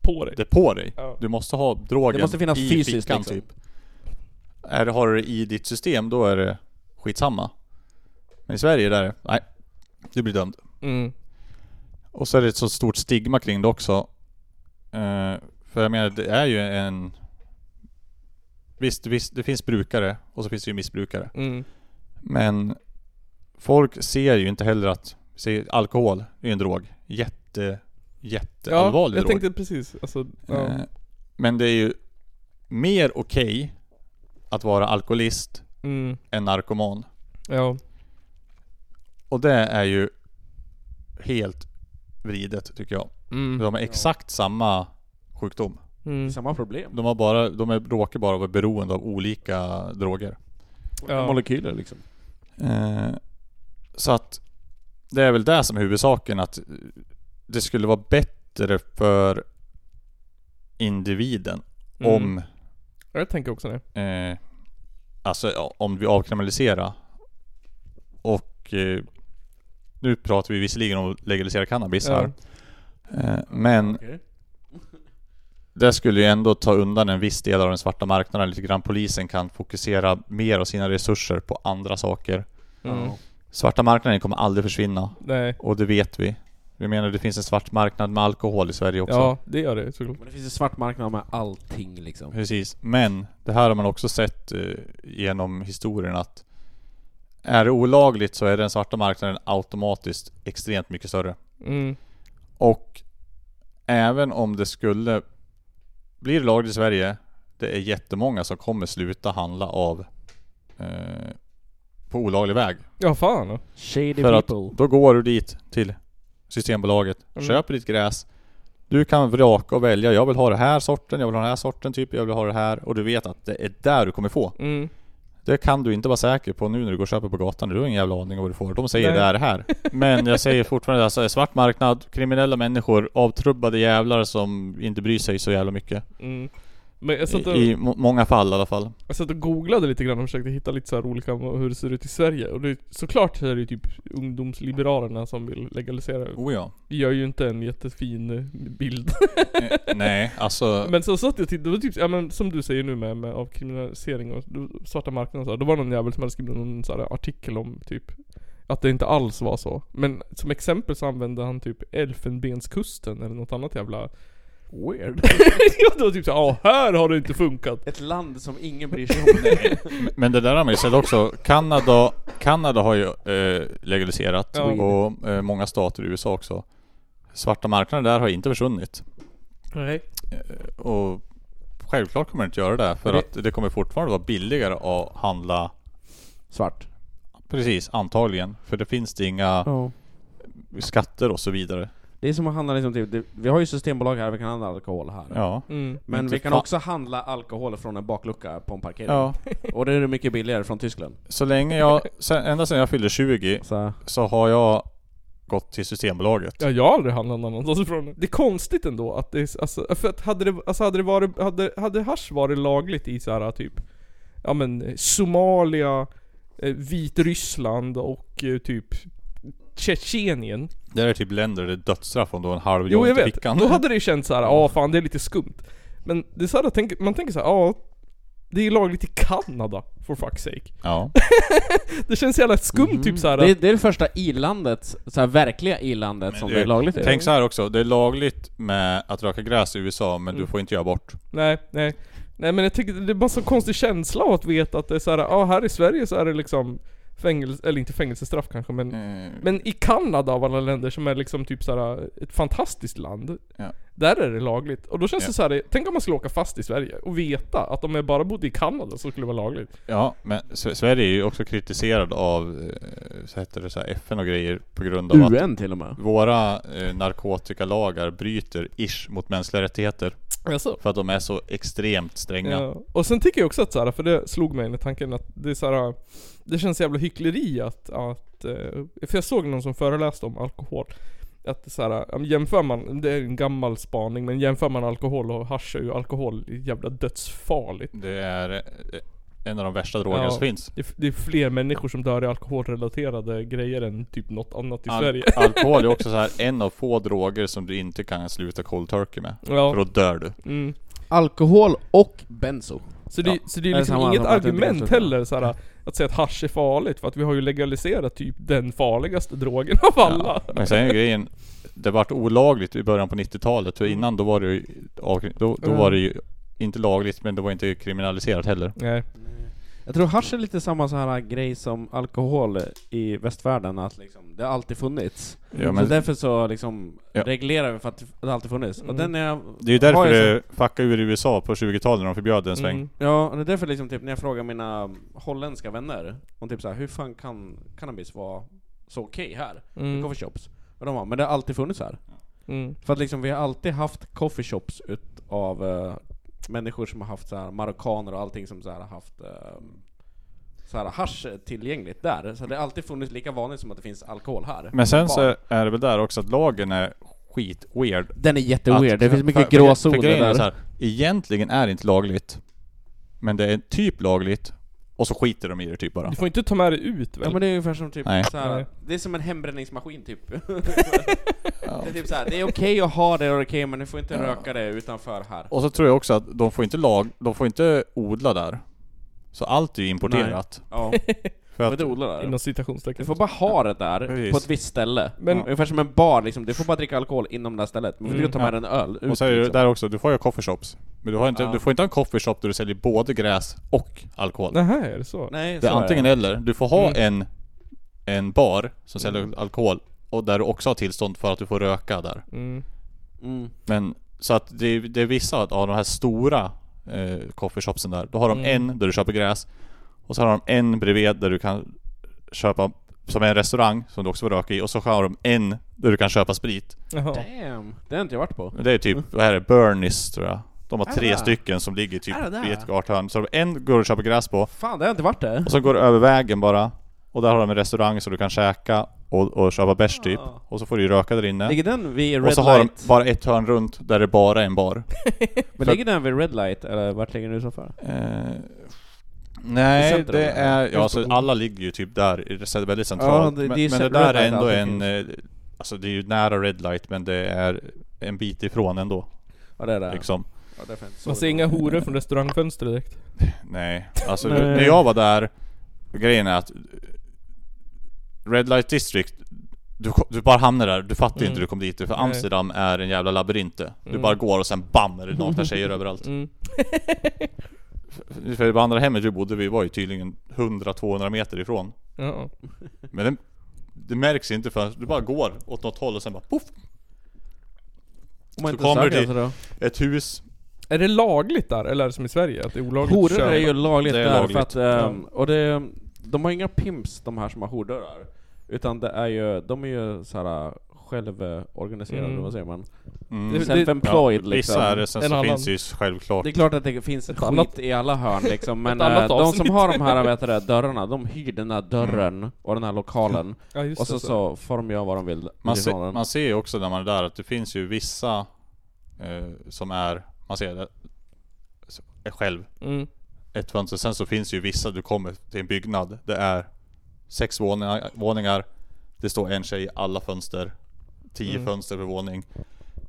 A: På dig.
B: det på dig.
A: Ja.
B: Du måste ha drogen
C: Det måste finnas
B: i
C: fysiskt,
B: fickan
C: liksom.
B: typ. Är, har du det i ditt system, då är det skitsamma. Men i Sverige där, är det, nej. Du blir dömd.
A: Mm.
B: Och så är det ett så stort stigma kring det också. Eh, för jag menar, det är ju en... Visst, visst, det finns brukare och så finns det ju missbrukare.
A: Mm.
B: Men folk ser ju inte heller att... Se, alkohol är ju en drog. Jätte,
A: Ja,
B: jätteallvarlig
A: jag
B: drog.
A: tänkte precis. Alltså, ja.
B: Eh, Men det är ju mer okej att vara alkoholist
A: Mm.
B: än narkoman.
A: Ja.
B: Och det är ju helt vridet tycker jag.
A: Mm.
B: De har exakt samma sjukdom.
A: Mm.
C: Samma problem.
B: De, har bara, de är, råkar bara vara beroende av olika droger.
A: Ja.
C: Molekyler liksom.
B: Eh, så att det är väl det som är huvudsaken att det skulle vara bättre för individen
A: Mm.
B: om
A: Ja, Jag tänker också det.
B: eh, alltså ja, om vi avkriminaliserar och eh, nu pratar vi visserligen om att legalisera cannabis
A: Ja.
B: här. Eh, men det skulle ju ändå ta undan en viss del av den svarta marknaden lite grann. Polisen kan fokusera mer av sina resurser på andra saker.
A: Mm.
B: Svarta marknaden kommer aldrig försvinna.
A: Nej.
B: Och det vet vi. Vi menar det finns en svart marknad med alkohol i Sverige också.
A: Ja, det gör det såklart.
C: Men det finns ju svart marknad med allting liksom.
B: Precis. Men det här har man också sett eh, genom historien att är det olagligt så är den svarta marknaden automatiskt extremt mycket större.
A: Mm.
B: Och även om det skulle bli lagligt i Sverige, det är jättemånga som kommer sluta handla av eh, på olaglig väg.
A: Ja, fan. då.
C: Shady
B: För att
C: people.
B: då går du dit till Systembolaget,
A: Mm.
B: köper ditt gräs. Du kan vraka och välja. Jag vill ha den här sorten, jag vill ha den här sorten typ, jag vill ha det här. Och du vet att det är där du kommer få.
A: Mm.
B: Det kan du inte vara säker på nu när du går och köper på gatan. Du har ingen jävla aning om vad du får. De säger
A: Nej.
B: det är det här. Men jag säger fortfarande alltså, svart marknad, kriminella människor, avtrubbade jävlar som inte bryr sig så jävla mycket.
A: Mm. Men jag satt,
B: I,
A: och,
B: i må- många fall i alla fall.
A: jag satt och googlade lite grann och försökte hitta lite så här olika hur det ser ut i Sverige. Och det, såklart så är det ju typ ungdomsliberalerna som vill legalisera.
B: Oh ja.
A: Vi gör ju inte en jättefin eh, bild.
B: Eh, Nej, alltså...
A: Men så satt jag och tittade, det var typ, ja, men som du säger nu med, med avkriminalisering och då- svarta marknaden så här, Då var det någon jävel som hade skrivit någon så här artikel om typ att det inte alls var så. Men som exempel så använde han typ Elfenbenskusten eller något annat jävla...
C: Weird.
A: ja, det var typ såhär, ja här har det inte funkat.
C: Ett land som ingen bryr sig om.
B: Men det där har man ju sett också. Kanada, Kanada har ju eh, legaliserat
A: Ja.
B: och eh, många stater i USA också. Svarta marknaden där har inte försvunnit.
A: Nej.
B: Och självklart kommer det inte göra det för
C: Det-
B: att det kommer fortfarande vara billigare att handla
C: Svart.
B: Precis, antagligen. För det finns det inga skatter och så vidare.
C: Det är som att handla liksom, typ, det, vi har ju systembolag här, vi kan handla alkohol här.
B: Ja.
A: Mm.
C: Men
B: Inte
C: vi kan
B: fan.
C: också handla alkohol från en baklucka på en parkering.
B: ja.
C: Och det är mycket billigare från Tyskland.
B: Så länge jag, sen, ända sedan jag fyllde 20
C: Så,
B: så har jag gått till Systembolaget.
A: Ja, jag har aldrig handlat någon annanstans ifrån. Det är konstigt ändå att det är, alltså, för att hade det, alltså hade det varit, hade, hade hasch varit lagligt i så här typ, ja men eh, Somalia, eh, Vitryssland och eh, typ Tjetjenien.
B: Det är typ länder där det är dödsstraff om du har en halv
A: Jo jag
B: joint i
A: vet,
B: fickan.
A: då hade det ju känts så här, ja fan det är lite skumt. Men det är så här, tänk- man tänker så här, ja det är lagligt i Kanada, for fuck's sake.
B: Ja.
A: Det känns jävla skumt typ så här.
C: Mm. det, är- det är det första i-landet, så här verkliga i-landet
B: Men
C: som
B: det-
C: det är lagligt i.
B: Tänk så här också, det är lagligt med att röka gräs i USA men
A: Mm.
B: du får inte göra bort.
A: Nej, nej. Nej men jag tycker det är bara en sån konstig känsla av att veta att det är så här, ja ah, här i Sverige så är det liksom fängelse, eller inte fängelsestraff kanske men
B: Mm. Eh,
A: Men i Kanada av alla länder som är liksom typ så här ett fantastiskt land
B: Ja.
A: Där är det lagligt. Och då känns
B: Ja.
A: det så här, tänk om man skulle åka fast i Sverige och veta att om jag bara bodde i Kanada så skulle det vara lagligt.
B: Ja, men S- Sverige är ju också kritiserad av eh, så heter det så här, FN och grejer på grund av att
C: UN till och med.
B: våra eh, narkotikalagar bryter ish mot mänskliga rättigheter
A: Alltså.
B: för att de är så extremt stränga.
A: Ja. Och sen tycker jag också att så här, för det slog mig i tanken att det är så här, Det känns jävla hyckleri att, att eh, För jag såg någon som föreläste om alkohol Att det så här, ja, men jämför man, det är en gammal spaning men jämför man alkohol och hasch är ju alkohol jävla dödsfarligt
B: Det är eh, en av de värsta drogerna
A: Ja.
B: som finns.
A: det, är- det är fler människor som dör i alkoholrelaterade grejer än typ något annat i Sverige
B: alkohol är också så här en av få droger som du inte kan sluta cold turkey med. För
A: Ja,
B: då dör du.
A: mm.
C: Alkohol och benzo.
A: Så det,
B: Ja.
A: så det är
C: Det är
A: liksom
C: samma
A: inget
C: som att det är
A: argument
C: dödsstraff.
A: heller så här, att säga att hasch är farligt för att vi har ju legaliserat typ den farligaste drogen av alla.
B: Men sen är grejen, det vart olagligt i början på 90-talet för innan då var det ju, avkri- då, då
A: Mm.
B: var det ju inte lagligt men det var inte kriminaliserat heller.
A: Nej.
C: Jag tror hasch är lite samma så här grej som alkohol i västvärlden, att liksom, det har alltid funnits.
B: Ja,
C: så
B: men
C: därför så liksom
B: Ja.
C: reglerar vi för att det alltid funnits. Och den är,
B: det är ju därför
C: har jag
B: det fuckade ur i USA på 20-talet när de förbjöd en sväng.
A: Mm.
C: Ja, och det är därför liksom, typ, när jag frågar mina holländska vänner om typ så här, hur fan kan cannabis vara så okej här.
A: Mm.
C: Coffee shops. Och de bara, men det har alltid funnits här.
A: Mm.
C: För att liksom vi har alltid haft coffee shops utav eh, människor som har haft så här marockaner och allting som så här har haft eh, så här hasch tillgängligt där. Så det har alltid funnits lika vanligt som att det finns alkohol här.
B: Men sen så
C: Bara.
B: är det väl där också att lagen är skit-weird.
C: Den är
B: Att-
C: jätteweird, det finns
B: för-
C: mycket
B: för-
C: gråzoner
B: för grejen är
C: där.
B: så här, Egentligen är det inte lagligt. Men det är typ lagligt. Och så skiter de i det typ bara.
A: Du får inte ta med dig ut väl?
C: Ja men det är ungefär som typ
B: Nej.
C: så här,
A: Nej.
C: det är som en hembränningsmaskin typ. Det är typ så här, det är okej att ha det och det är okej men du får inte röka det utanför här.
B: Och så tror jag också att de får inte lag, de får inte odla där. Så allt är ju importerat.
C: Ja,
B: För
C: men
B: att,
C: det odlar där.
A: Inom
C: Du
A: citationstecken.
C: får bara ha det där,
B: Precis.
C: på ett visst ställe.
A: Men-
C: Ja. Ungefär som en bar liksom, du får bara dricka alkohol inom det här stället. Men du
A: Mm.
C: får ta med en öl ut
B: och så är det
C: liksom.
B: där också, du får ju ha coffeeshops. Men du, har inte,
C: Ja.
B: du får inte ha en coffeeshop där du säljer både gräs och alkohol. Mm.
A: Nähä, är det så?
C: Nej,
B: Det är
C: så
B: antingen
C: det.
B: eller. Du får ha en, en bar som säljer
C: Mm.
B: alkohol. Och där du också har tillstånd för att du får röka där.
A: Mm.
C: Mm.
B: Men så att det, är- det är vissa av de här stora eh, coffeeshopsen där. Då har de
A: Mm.
B: en där du köper gräs. Och så har de en bredvid där du kan köpa som är en restaurang som du också får röka i. Och så har de en där du kan köpa sprit.
A: Jaha.
C: Damn, det har inte jag varit på.
B: Det är typ, vad är det? Burnies tror jag. De har
C: Är
B: tre
C: det?
B: stycken som ligger typ
C: Är det där?
B: i ett gathörn. Så de- en går du och köper gräs på.
C: Fan, det har jag inte varit det.
B: Och så går du över vägen bara. Och där har de en restaurang som du kan käka och, och köpa bärs typ.
C: Ah.
B: Och så får du ju röka där inne.
C: Ligger den vid Red
B: Och så har de
C: Light?
B: bara ett hörn runt där det bara är en bar.
C: Men ligger den vid Red Light, eller vart ligger den utanför?
B: Eh,
C: I
B: nej,
C: centrum,
B: det
C: eller?
B: är... Ja, alltså, alla ligger ju typ där, i- så det är väldigt
C: Ja,
B: centralt.
C: det- det är
B: men
C: ju
B: men det
C: cent-
B: där
C: red
B: är
C: light
B: ändå en...
C: alltid
B: eh, Alltså det är ju nära red light, men det är en bit ifrån ändå.
C: Ja, det är det.
B: Liksom.
C: Ja, det är fint.
A: Man ser inga horor från restaurangfönster direkt.
B: Nej, alltså
C: Nej.
B: när jag var där... Grejen är att... Red light district, du, ko- du bara hamnar där, du fattar ju inte
A: Mm.
B: hur du kom dit. För
A: Nej.
B: Amsterdam är en jävla labyrint det. Du
A: Mm.
B: bara går och sen bam är det nakna tjejer överallt.
A: Mm.
B: För det andra hemmet vi bodde vi var ju tydligen 100-200 meter ifrån.
A: Ja.
B: Men det, det märks inte förrän du bara går åt något håll och sen bara poff!
C: Om man
B: Så
C: inte
B: kommer
C: söker
B: det-
C: alltså då.
B: Ett hus.
A: Är det lagligt där, eller är det som i Sverige? Att det är olagligt att
C: Horor
A: köpa?
C: är ju lagligt
B: Det är
C: där
B: lagligt.
C: för att, ehm, och det, de har inga pimps de här som har hordörrar. Utan det är ju, de är ju såhär självorganiserade,
A: Mm.
C: vad säger man?
B: Mm.
A: Det-
C: Self-employed liksom.
B: Vissa är det, sen
A: En
B: så
A: annan.
B: finns det ju självklart.
C: Det är klart att det finns skit
A: annat-
C: i alla hörn liksom, men
A: Ett annat
C: eh, de som
A: avsnitt. Mm.
C: har de här vet du, det, dörrarna, de hyr den här dörren och den här lokalen.
A: Ja, just
C: Och så,
A: det,
C: så får de göra vad de vill
B: Man,
C: utifrån
B: se,
C: den.
B: man ser ju också när man är där att det finns ju vissa eh, som är, man ser det, så- är själv
A: Mm.
B: ett fönster. Sen så finns ju vissa, du kommer till en byggnad, det är sex våningar, våningar det står en tjej i alla fönster, tio
A: Mm.
B: fönster per våning.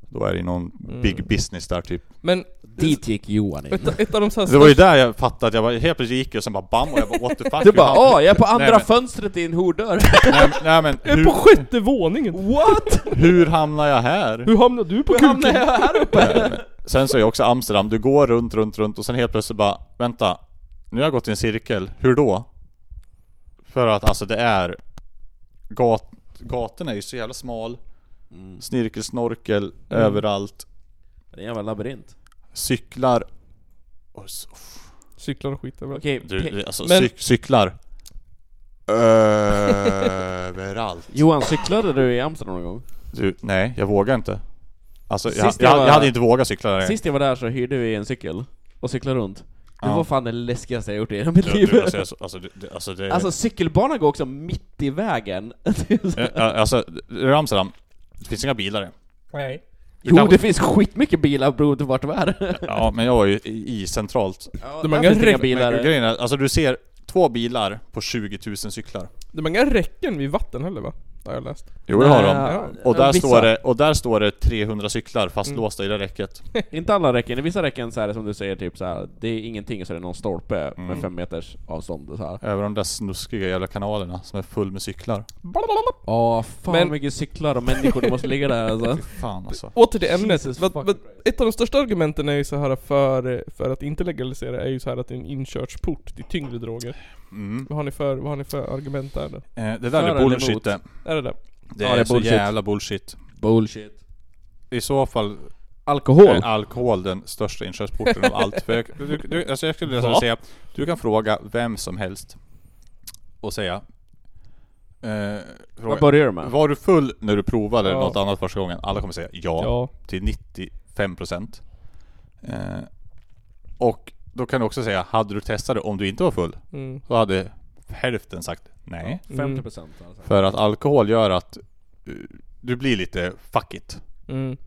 B: Då är det ju någon big business där typ.
A: Men
C: Dit gick Johan in.
A: ett, ett av de så här
B: Det var ju där jag fattade att jag bara, helt plötsligt gick jag och sen bara bam och jag bara what the fuck
C: Du
B: vi
C: bara
B: hamnar-
C: åh, jag är på andra
B: men-
C: fönstret i en hordörr!
B: Nej, men- nej men
A: Jag är på
B: hur,
A: sjätte våningen!
C: What?
B: hur hamnar jag här?
A: Hur hamnade du på
C: Hur hamnade
A: kuken?
C: jag här uppe?
B: Sen så är ju också Amsterdam, du går runt, runt, runt och sen helt plötsligt bara Vänta, nu har jag gått i en cirkel, hur då? För att alltså det är gat, Gatorna är ju så jävla smal
C: Mm.
B: Snirkel, snorkel,
A: Mm.
B: överallt
C: Det är en jävla labyrint.
B: Cyklar och så, f-
A: Cyklar och skit överallt.
C: Okej,
B: du,
C: pe-
B: du, alltså
A: Men-
B: cyk, cyklar Överallt
C: Johan, cyklade du i Amsterdam någon gång?
B: Du, nej jag vågar inte Alltså jag,
C: Sist jag
B: jag,
C: var-
B: jag hade inte vågat cykla där
C: Sist jag var där så hyrde vi en cykel och cyklade runt. Det
B: Ja.
C: var fan det läskigaste jag gjort i hela mitt
B: Du,
C: liv.
B: du, alltså, jag- alltså, du, du, alltså, det,
C: Alltså cykelbanan går också mitt i vägen.
B: Ja, alltså, i Amsterdam, det finns inga bilar än.
A: Nej.
C: jo,
B: kan-
C: det finns skitmycket bilar beroende på vart du är.
B: Ja, men jag var ju i, i centralt.
A: De har
C: där
A: inga
C: finns det inga
A: rep-
C: bilar.
B: Grejen är, alltså du ser två bilar på 20 000 cyklar.
A: Det är inga räcken vid vatten heller va? Det har jag läst.
B: Jo, det har de.
C: Nej,
B: Och där,
C: vissa. Mm.
B: står det, och där står det 300 cyklar fastlåsta i det räcket.
C: Inte alla räcken, i vissa räcken så är det som du säger typ så här. det är ingenting så är det någon stolpe
B: Mm.
C: med fem meters avstånd och så här.
B: Över de där snuskiga jävla kanalerna som är full med cyklar.
A: Blablabla.
C: Åh, fan
A: Men-
C: vad mycket cyklar och människor det måste ligga där alltså.
B: Fy fan alltså.
A: Åter till ämnet.
C: Jesus
A: Vad,
C: fucking
A: vad,
C: Christ.
A: ett av de största argumenten är ju så här för, för att inte legalisera är ju så här att det är en inkörsport till tyngre droger.
B: Mm.
A: Vad har ni för, vad har ni för argument där då?
B: Eh, det
C: För
B: där
C: eller
B: är
C: emot?
B: bullshit det.
A: Är det det?
B: Det
C: Ja,
B: är,
C: det är
B: så
C: bullshit.
B: jävla bullshit.
C: Bullshit.
B: I så fall
C: Alkohol?
B: är alkohol den största inkörsporten av allt. För jag, du, du, alltså jag skulle nästan
A: Va?
B: säga, du kan fråga vem som helst och säga Eh,
C: Vad
B: fråga.
C: börjar du med?
B: Var du full när du provade
A: Ja.
B: något annat första gången? Alla kommer säga ja,
A: Ja.
B: till 95% eh, Och då kan du också säga, hade du testat det om du inte var full?
A: Mm.
B: Så hade hälften sagt nej.
C: 50% alltså.
B: För att alkohol gör att eh, du blir lite fuck it.
A: Mm.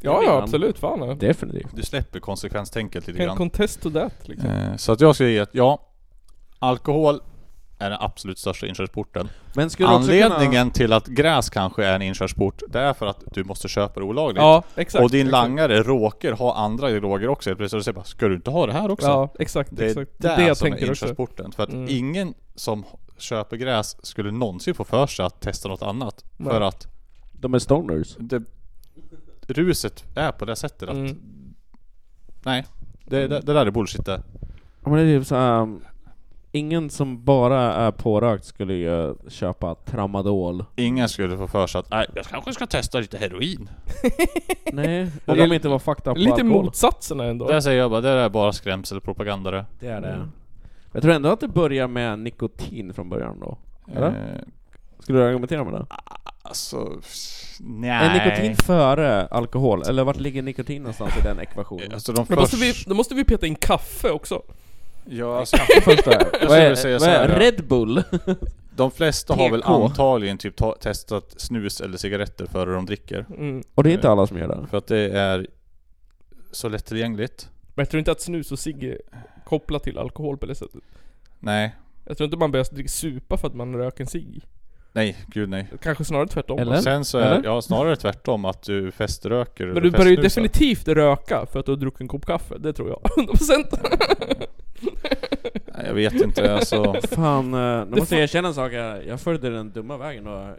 A: Ja, ja absolut. Fan ja.
C: Definitivt.
B: Du släpper konsekvenstänket lite
A: Can
B: grann.
A: contest to that liksom.
B: Eh, Så att jag skulle ge att ja, alkohol är den absolut största inkörsporten.
C: Men skulle du också kunna-
B: Anledningen till att gräs kanske är en inkörsport, det är för att du måste köpa det olagligt.
A: Ja, exakt.
B: och din
A: exakt.
B: langare råkar ha andra droger också. Helt Plötsligt säger bara, ska du inte ha det här också?
A: Ja, exakt.
B: det är
A: exakt.
B: där
A: det jag
B: som är
A: tänker också.
B: inkörsporten. För att
A: Mm.
B: ingen som köper gräs skulle någonsin få för sig att testa något annat.
A: Nej.
B: För att
C: De är stoners.
B: det, ruset är på det sättet att,
A: Mm.
B: nej. Det, det, det där är bullshit det.
C: Ja, Men det är typ så här, um, ingen som bara är pårökt skulle ju köpa tramadol.
B: Ingen skulle få för sig att, nej jag kanske ska testa lite heroin.
C: Nej,
A: om
C: om
A: de
C: de inte var fucked up på
A: Lite
C: alkohol.
A: motsatserna ändå.
B: Där säger jag bara, det där är bara skrämselpropaganda det.
C: Det är
B: Mm.
C: det. Jag tror ändå att det börjar med nikotin från början då. Eller?
B: Eh,
C: Skulle du argumentera med det?
B: alltså,
C: Är
B: nej.
C: nikotin före alkohol? Eller vart ligger nikotin någonstans i den ekvationen?
B: Alltså de
A: Då måste, vi,
B: först...
A: då måste vi peta in kaffe också.
B: Ja, alltså,
C: Första, vad
B: skulle
C: är,
B: säga
C: vad
B: så här,
C: är
B: ja.
C: Red Bull?
B: De flesta har väl
C: TK.
B: antagligen typ ta- testat snus eller cigaretter före de dricker.
A: Mm.
C: Och det är inte alla som gör det.
B: För att det är så lättillgängligt.
A: Men jag tror inte att snus och cigg är kopplat till alkohol på det sättet.
B: Nej,
A: Jag tror inte man börjar dricka supa för att man röker en cigg.
B: nej, gud nej.
A: Kanske snarare tvärtom.
C: Eller?
B: Sen så är
C: Eller?
B: ja, snarare tvärtom att du feströker
A: Men du börjar ju
B: festsnusar.
A: definitivt röka för att du har druckit en kopp kaffe. Det tror jag. 100%.
B: Nej, jag vet inte, alltså.
C: Fan, eh, nu måste
A: fa-
C: jag erkänna en sak här. Jag följde den dumma vägen och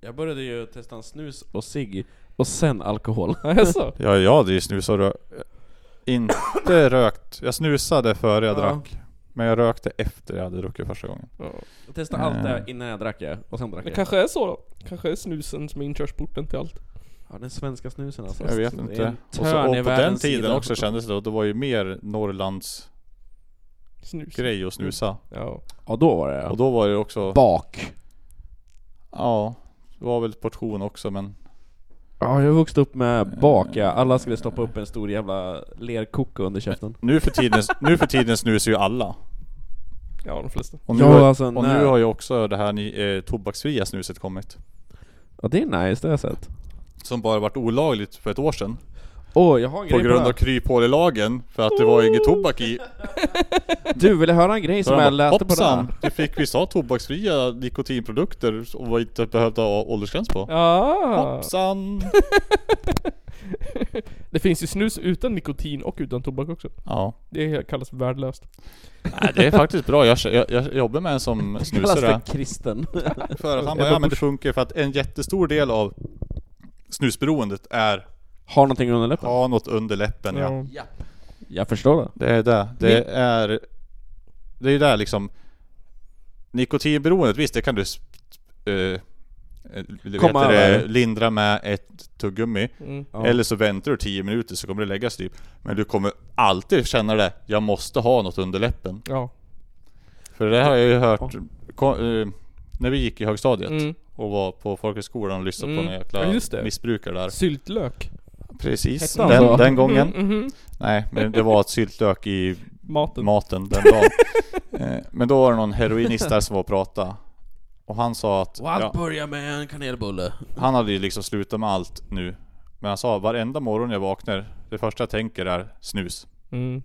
C: jag började ju testa en snus och cigg och sen alkohol.
A: Alltså.
B: Ja, ja, det är ju snus och rök. Inte rökt. Jag snusade före jag
C: Ja.
B: drack. Men jag rökte efter jag hade druckit första gången.
A: Ja.
C: Jag testade allt det
B: Mm.
C: här innan jag drack det och sen drack
A: Det
C: jag.
A: kanske är så då. Kanske är snusen som är inkörsporten till allt.
C: Ja, den svenska snusen alltså.
B: Jag vet
C: Det är
B: inte.
C: en
B: Och, så, och
C: törn i
B: på den
C: världens
B: tiden
C: sida.
B: också kändes det, och det var ju mer Norrlands
A: Snus.
B: grej att snusa.
A: Ja.
C: Ja, då var det
B: Och
C: ja.
B: då var det också,
C: Bak.
B: ja, det var väl portion också men
C: Ja, jag vuxte upp
B: Eh.
C: med bak ja. Alla skulle stoppa upp en stor jävla lerkoko under käften.
B: nu för tiden, nu för tiden snusar ju alla.
A: Ja, de flesta.
B: Och nu,
C: Ja,
B: har,
C: alltså,
B: och
C: nej.
B: nu har ju också det här ni, eh, tobaksfria snuset kommit.
C: Ja, det är nice, det har jag sett.
B: Som bara varit olagligt för ett år sedan.
C: Åh, jag har en
B: På
C: grej
B: grund
C: det.
B: av kryphålelagen, för att det var inget tobak i.
C: Du, vill du höra en grej
B: Så
C: som jag
B: de bara,
C: läste på det här?
B: hoppsan, du fick vissa tobaksfria nikotinprodukter och var inte behövde ha åldersgräns på.
A: Ah.
B: Hoppsan!
A: Det finns ju snus utan nikotin och utan tobak också.
B: Ja.
A: Det kallas värdelöst.
B: Nej, det är faktiskt bra, jag, jag, jag jobbar med en som
C: Kallas
B: snusare.
C: för kristen.
B: För att han bara, ja men det funkar för att en jättestor del av snusberoendet är
C: Har någonting under läppen?
B: ha något under läppen ja.
C: Jag förstår det.
B: Det är det. Det är... Det är ju där liksom... Nikotinberoendet, visst det kan du... sp- eh, eh, vet
C: Komma
B: det,
C: över.
B: lindra med ett tuggummi.
A: Mm.
C: Ja.
B: Eller så väntar du 10 minuter så kommer det läggas typ. Men du kommer alltid känna det, jag måste ha något under läppen.
A: Ja.
B: För det har jag ju hört
C: Ja.
B: ko- eh, när vi gick i högstadiet
A: Mm.
B: och var på folkhögskolan och lyssnade
A: Mm.
B: på någon
A: Ja,
B: jäkla
A: just det.
B: missbrukare där.
A: Syltlök.
B: Precis,
C: Hette han så?
B: den, den gången.
A: Mm, mhm.
B: Nej, men det var ett syltlök i
A: Maten.
B: maten den dagen. Eh, men då var det någon heroinist där som var och pratade. Och han sa att,
C: Och allt
B: ja,
C: börjar med en kanelbulle.
B: han hade ju liksom slutat med allt nu. Men han sa varenda morgon jag vaknar, det första jag tänker är snus.
A: Mm.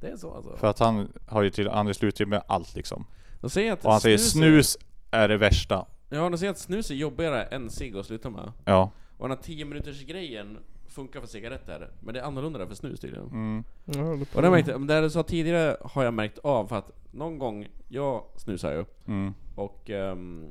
C: Det är så alltså.
B: För att han har ju till, han har slutat med allt liksom.
C: De säger att
B: Och han säger
C: Är,
B: snus är det värsta.
C: ja, de säger att snus är jobbigare än cigg att sluta med.
B: Ja.
C: Och den här 10 minuters grejen funkar för cigaretter, men det är annorlunda för snus tydligen.
B: Mm.
A: Ja, jag håller på.
C: Och det, märkte, men det du sa tidigare har jag märkt av, för att någon gång, jag snusar ju,
B: Mm.
C: och um,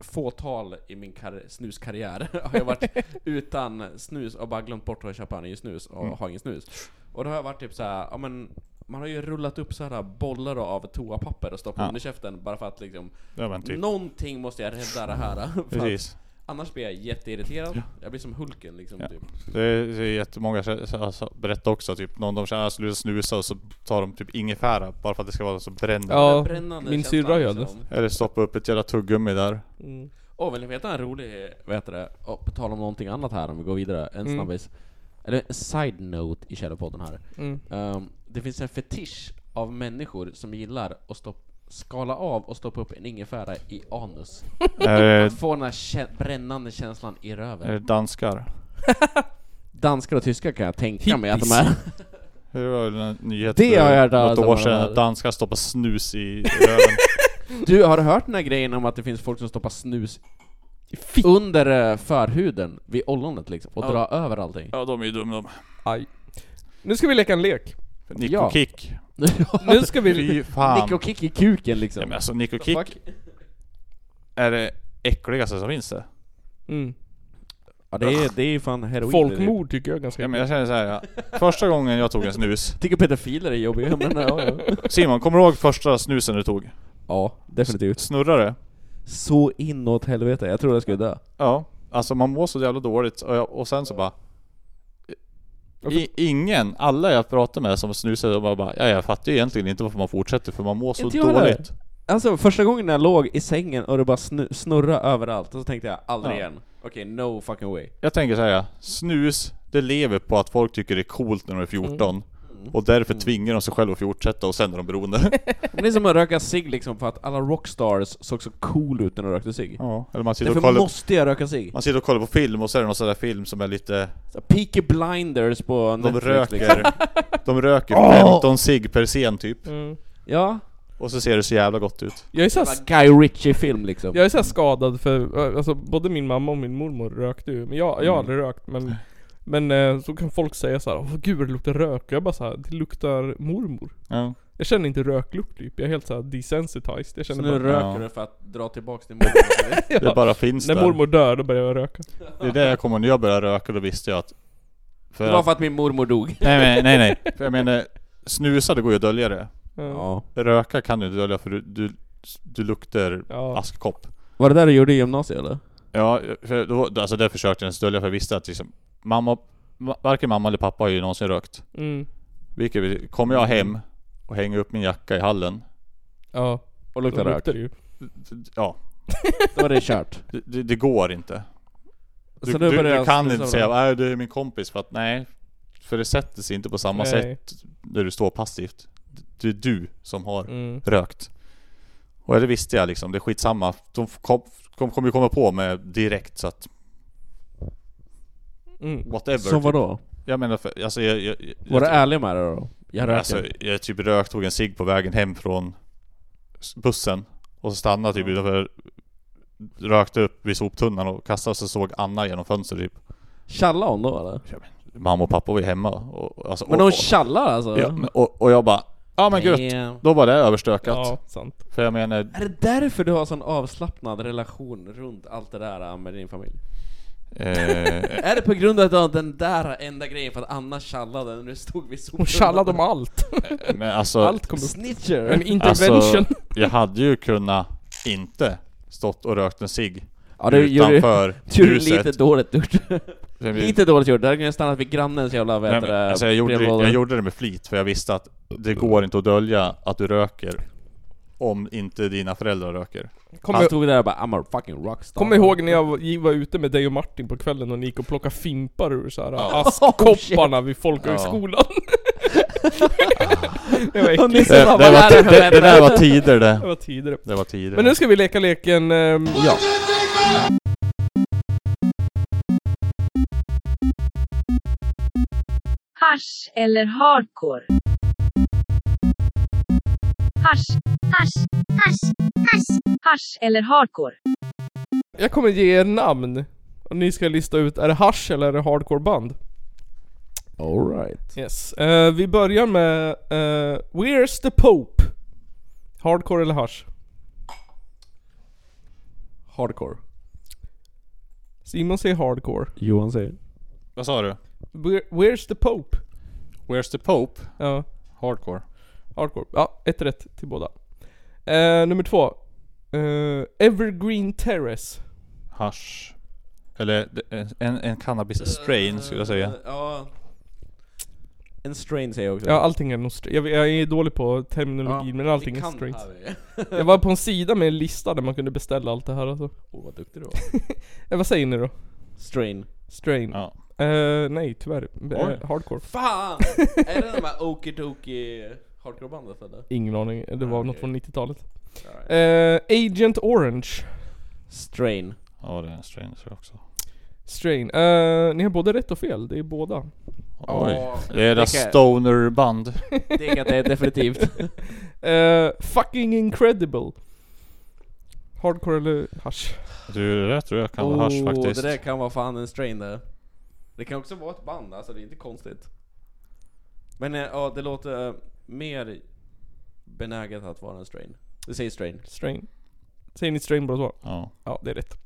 C: fåtal i min kar- snuskarriär har jag varit utan snus och bara glömt bort att köpa ny snus och
B: Mm.
C: har ingen snus. Och då har jag varit typ så här, ja men man har ju rullat upp så här bollar av toapapper och stoppat
B: Ja.
C: under käften bara för att liksom
B: Ja men typ.
C: Någonting måste jag rädda det här. För att,
B: Precis.
C: Annars blir jag jätteirriterad. Jag blir som Hulken liksom
B: Ja.
C: typ.
B: Det är, det är jättemånga som så- alltså, berättar också typ, någon de känner slutar snusa och så tar de typ ingefära bara för att det ska vara så brännande.
A: Ja, Mm.
C: Den brännande
A: min
C: känslan,
A: syrra gör
C: liksom.
B: Eller stoppa upp ett jävla tuggummi där.
A: Mm.
C: Åh, vill ni veta en rolig, vad heter det, oh, på tal om någonting annat här om vi går vidare, en
A: Mm.
C: snabbis. Eller en side-note i Källarpodden här.
A: Mm.
C: Ehm, det finns en fetisch av människor som gillar att stopp, skala av och stoppa upp en ingefära i anus.
B: är, det,
C: Att få den här kä- brännande känslan i
B: är
C: röven.
B: det danskar?
C: Danskar och tyskar kan jag tänka mig att de är.
B: Det var väl en nyhet
C: Det
B: för
C: har jag hört
B: något
C: alltså,
B: år sedan
C: men-
B: att danskar stoppar snus i röven.
C: Du, har du hört den här grejen om att det finns folk som stoppar snus under eh, förhuden, vid ollonet liksom, och
A: Ja.
C: drar över allting?
B: ja, de är ju dumma de.
A: Aj. Nu ska vi leka en lek.
B: Nico
C: Ja.
B: Kick.
A: Nu ska vi...
B: Fy fan.
C: Nick och kick i kuken liksom.
B: Ja, men alltså Nico
C: The
B: Kick
C: fuck?
B: är det äckligaste som finns det.
A: Mm.
C: Ja, det är, det är fan heroin.
A: Folkmord tycker jag är ganska
B: Ja, men jag känner så här, ja. Första gången jag tog en snus.
C: Jag tycker pedofiler är jobbiga, men ja, ja.
B: Simon, kommer du ihåg första snusen du tog?
C: ja, definitivt.
B: Snurrade det?
C: Så inåt helvete, jag trodde jag skulle dö.
B: Ja. Alltså man mår så jävla dåligt och, jag, och sen så bara... I, ingen, alla jag pratar med som snusar, de bara, bara ja, jag fattar ju egentligen inte varför man fortsätter för man mår så
C: Inte jag heller.
B: dåligt.
C: Alltså första gången jag låg i sängen och det bara snu- snurrade överallt, och så tänkte jag aldrig
B: Ja.
C: igen. Okej, no fucking way.
B: Jag tänker så här, snus, det lever på att folk tycker det är coolt när de är 14. Och därför tvingar de sig själva att fortsätta och sen är de beroende.
C: Det är som att röka cigg liksom för att alla rockstars såg så cool ut när de rökte cigg.
B: ja. Eller man sitter, och
C: Därför
B: kollar,
C: måste jag röka cigg.
B: man sitter och kollar på film och så är det någon sån där film som är lite...
C: Så Peaky blinders på
B: De
C: Netflix liksom.
B: röker, de röker 15 cigg per scen typ.
A: Mm.
C: Ja,
B: Och så ser det så jävla gott ut.
A: Jag är så här
C: jävla Guy Ritchie-film liksom.
A: Jag är så här skadad för, eh, alltså både min mamma och min mormor rökte ju. Men jag, jag har aldrig rökt men Men eh, så kan folk säga så här, Åh, gud vad det luktar rök. Jag bara så här, det luktar mormor.
B: Ja.
A: Jag känner inte röklukt typ. Jag är helt så här desensitized. Jag
C: Så
A: känner
C: nu
A: bara,
C: röker
B: Ja.
C: du för att dra tillbaks din mormor.
B: Det bara finns
A: när
B: där.
A: mormor dör då börjar jag röka.
B: Det är det jag kommer när jag började röka, då visste jag att... För
C: Det var
B: att
C: för att min mormor dog.
B: nej, nej, nej, nej. För jag menar, snusa det går ju att dölja det.
A: Ja.
C: Ja.
B: Röka kan du inte dölja för du, du, du luktar
A: Ja.
B: askkopp.
C: Var det där du gjorde i gymnasiet eller?
B: Ja, för då, alltså det försökte jag ens dölja för jag visste att liksom, mamma, ma- varken mamma eller pappa har ju någonsin rökt.
A: Mm.
B: Vilket, vi- kommer jag hem och hänger upp min jacka i hallen,
A: Ja. Då
C: Och luktade rök.
A: luktar det ju.
B: ja,
C: Då var det kört.
B: det- det, det går inte. Du,
C: Så nu
B: du,
C: börjar
B: du
C: jag
B: kan
C: snusar
B: inte
C: då.
B: säga nej det är min kompis för att nej, för det sätter sig inte på samma
A: Nej.
B: sätt när du står passivt. Det är du som har
A: Mm.
B: rökt. Och det visste jag liksom, det är skitsamma. De kom- kom- kommer ju komma på mig direkt så att
A: Mm.
B: whatever. typ.
C: Som vadå?
B: Jag menar för, alltså jag... jag, jag
C: Var du ärlig med det då? Jag röker.
B: Alltså, jag typ rökt, tog en cigg på vägen hem från s- bussen och så stannade typ utanför Rökte upp vid soptunnan och kastade sig och såg Anna genom fönstret typ
C: Tjallade hon då eller?
B: Mamma och pappa var ju hemma och, och- alltså,
C: Men
B: och,
C: hon
B: och,
C: tjallar alltså?
B: ja, men- och, och jag bara Ja men gött!
C: Damn.
B: Då var det överstökat
A: Ja, sant.
B: För jag menar
C: Är det därför du har sån avslappnad relation runt allt det där äh, med din familj?
B: eh,
C: Är det på grund av att du har den där enda grejen för att Anna tjallade när du stod vid solen?
A: Hon tjallade om allt.
B: Men alltså
A: Allt kom upp. En
C: Snitcher!
A: intervention.
B: Alltså, jag hade ju kunnat inte stått och rökt en cigg
C: Ja det gjorde
B: utanför
C: du
B: huset.
C: lite dåligt gjort.
B: Jag blir-
C: lite dåligt gjort, där hade jag stannat vid grannens jävla
B: Nej,
C: vet
B: men,
C: du,
B: alltså jag, gjorde det,
C: brevlåda.
B: jag gjorde det med flit för jag visste att det går inte att dölja att du röker om inte dina föräldrar röker.
A: Kom,
C: Han
A: i-
C: stod där och bara 'I'm a fucking rockstar'
A: kom ihåg när jag var- var ute med dig och Martin på kvällen och ni gick och plockade fimpar ur såhär
B: Ja.
A: askkopparna vid folkhögskolan. det var äckligt.
C: Nisse
B: Det,
C: bara,
B: det,
C: "Vad
B: var,
C: är det
B: ti-
C: för
B: det, det där
C: väder?"
B: var tider
A: Det
B: det.
A: var tidigare.
B: Det var tider.
A: Men nu ska vi leka leken... ehm,
C: Ja.
F: Hasch eller hardcore? Hasch, hasch, hasch, hasch. Hasch eller hardcore?
A: jag kommer ge er namn. Och ni ska lista ut, är det hash eller är det hardcore band?
C: Alright.
A: Yes. Eh, vi börjar med eh, Where's the Pope? Hardcore eller hash?
C: Hardcore.
A: Simon säger hardcore.
C: Johan säger.
B: Vad sa du?
A: Where, where's the Pope?
B: Where's the Pope?
A: Ja,
B: Hardcore.
A: hardcore. Ja, ett rätt till båda. Eh, nummer två. Eh, Evergreen Terrace.
B: Hash. Eller eh, en, en cannabis-strain skulle jag
C: Eh.
B: säga.
C: Ja. En strain säger jag också.
A: Ja, allting är nog stra- jag, jag är dålig på terminologi men allting
C: vi
A: är
C: kan
A: straight.
C: här, vi.
A: Jag var på en sida med en lista där man kunde beställa allt det här alltså.
C: Åh vad duktig du var.
A: Eh, vad säger ni då?
C: Strain.
A: Strain?
B: Ja.
A: Eh, nej tyvärr. Eh, hardcore.
C: Fan! är det de här okie-dokie hardcore-bandet eller?
A: Ingen aning, det var
C: Ah,
A: något
C: okej.
A: från 90-talet.
C: Alright.
A: Eh, Agent Orange.
C: Strain.
B: Ja det är en strain tror jag också.
A: Strain. Eh, ni har både rätt och fel, det är båda.
B: Oj.
C: Ja,
B: Det är deras
C: kan-
B: stoner-band.
C: Det kan det definitivt.
A: Eh, fucking incredible. Hardcore eller hasch?
B: Du, det där tror jag kan vara hasch
C: Oh,
B: faktiskt.
C: Det där kan vara fan en strain där. Det kan också vara ett band, alltså det är inte konstigt. Men eh, ja, det låter eh, mer benäget att vara en strain. Du säger strain.
A: Strain. Säger ni strain båda två?
B: Ja,
A: Ja, det är rätt.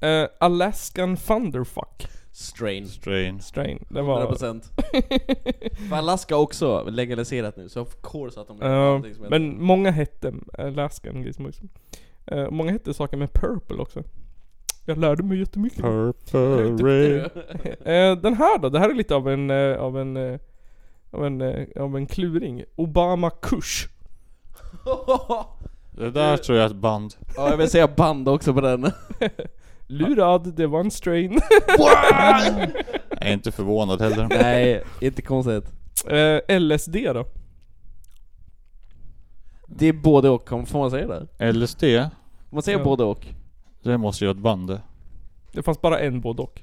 A: Eh, Alaskan Thunderfuck.
C: Strain.
B: strain.
A: Strain. Det var...
C: 100%. För Alaska också legaliserat nu, så of course att de gör
A: Eh,
C: någonting som heter-
A: men många hette Alaskan Grismux. Uh, många hette saker med purple också. Jag lärde mig jättemycket.
B: Purple rain.
A: Eh, den här då? Det här är lite av en, eh, av en, eh, av en, eh, av en kluring. Obama Kush.
B: Det där tror jag är ett band.
C: ja, jag vill säga band också på den.
A: Lurad, det var en strain.
B: Jag är inte förvånad heller.
C: Nej, inte konstigt.
A: Eh, LSD då?
C: Det är både och, kan- får man säga det?
B: LSD,
C: Man säger
A: Ja.
C: både och.
B: det måste ju vara ett band det.
A: Det fanns bara en både och.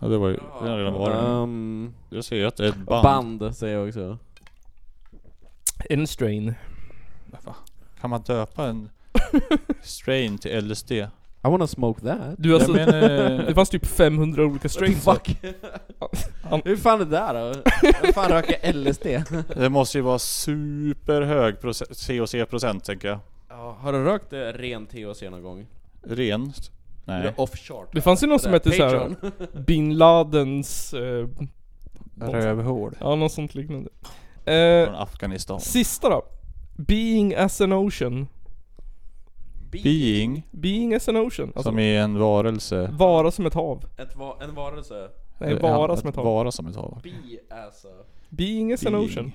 B: Ja det var ju, det har redan varit.
C: Ehm,
B: Jag säger att det är ett band.
C: band. säger jag också.
A: En strain.
B: Kan man döpa en strain till LSD?
C: I wanna smoke that.
A: Du alltså,
B: Jag menar,
A: det fanns typ 500 olika strains.
C: Fuck.
A: An-
C: Hur fan är det där då? Vem fan röker LSD?
B: det måste ju vara superhög COC-procent tänker jag.
C: Ja, har du rökt eh, ren THC någon gång?
B: Rent?
C: Eller
B: Nej.
C: Off chart.
A: Det fanns ju någon
C: Det
A: som
C: där,
A: hette såhär
C: Patreon.
A: Bin Ladens... Eh,
B: Rövhål.
A: ja, något sånt liknande. Eh,
B: Från Afghanistan.
A: sista då. Being as an ocean.
B: Being,
A: Being as an ocean. Alltså,
B: som är en varelse.
A: vara som ett hav.
C: Ett va- en varelse.
A: Nej,
B: Eh,
A: vara
B: han-
A: som ett hav.
B: Vara som ett hav.
C: Be alltså.
A: Being is an
B: Being.
A: ocean.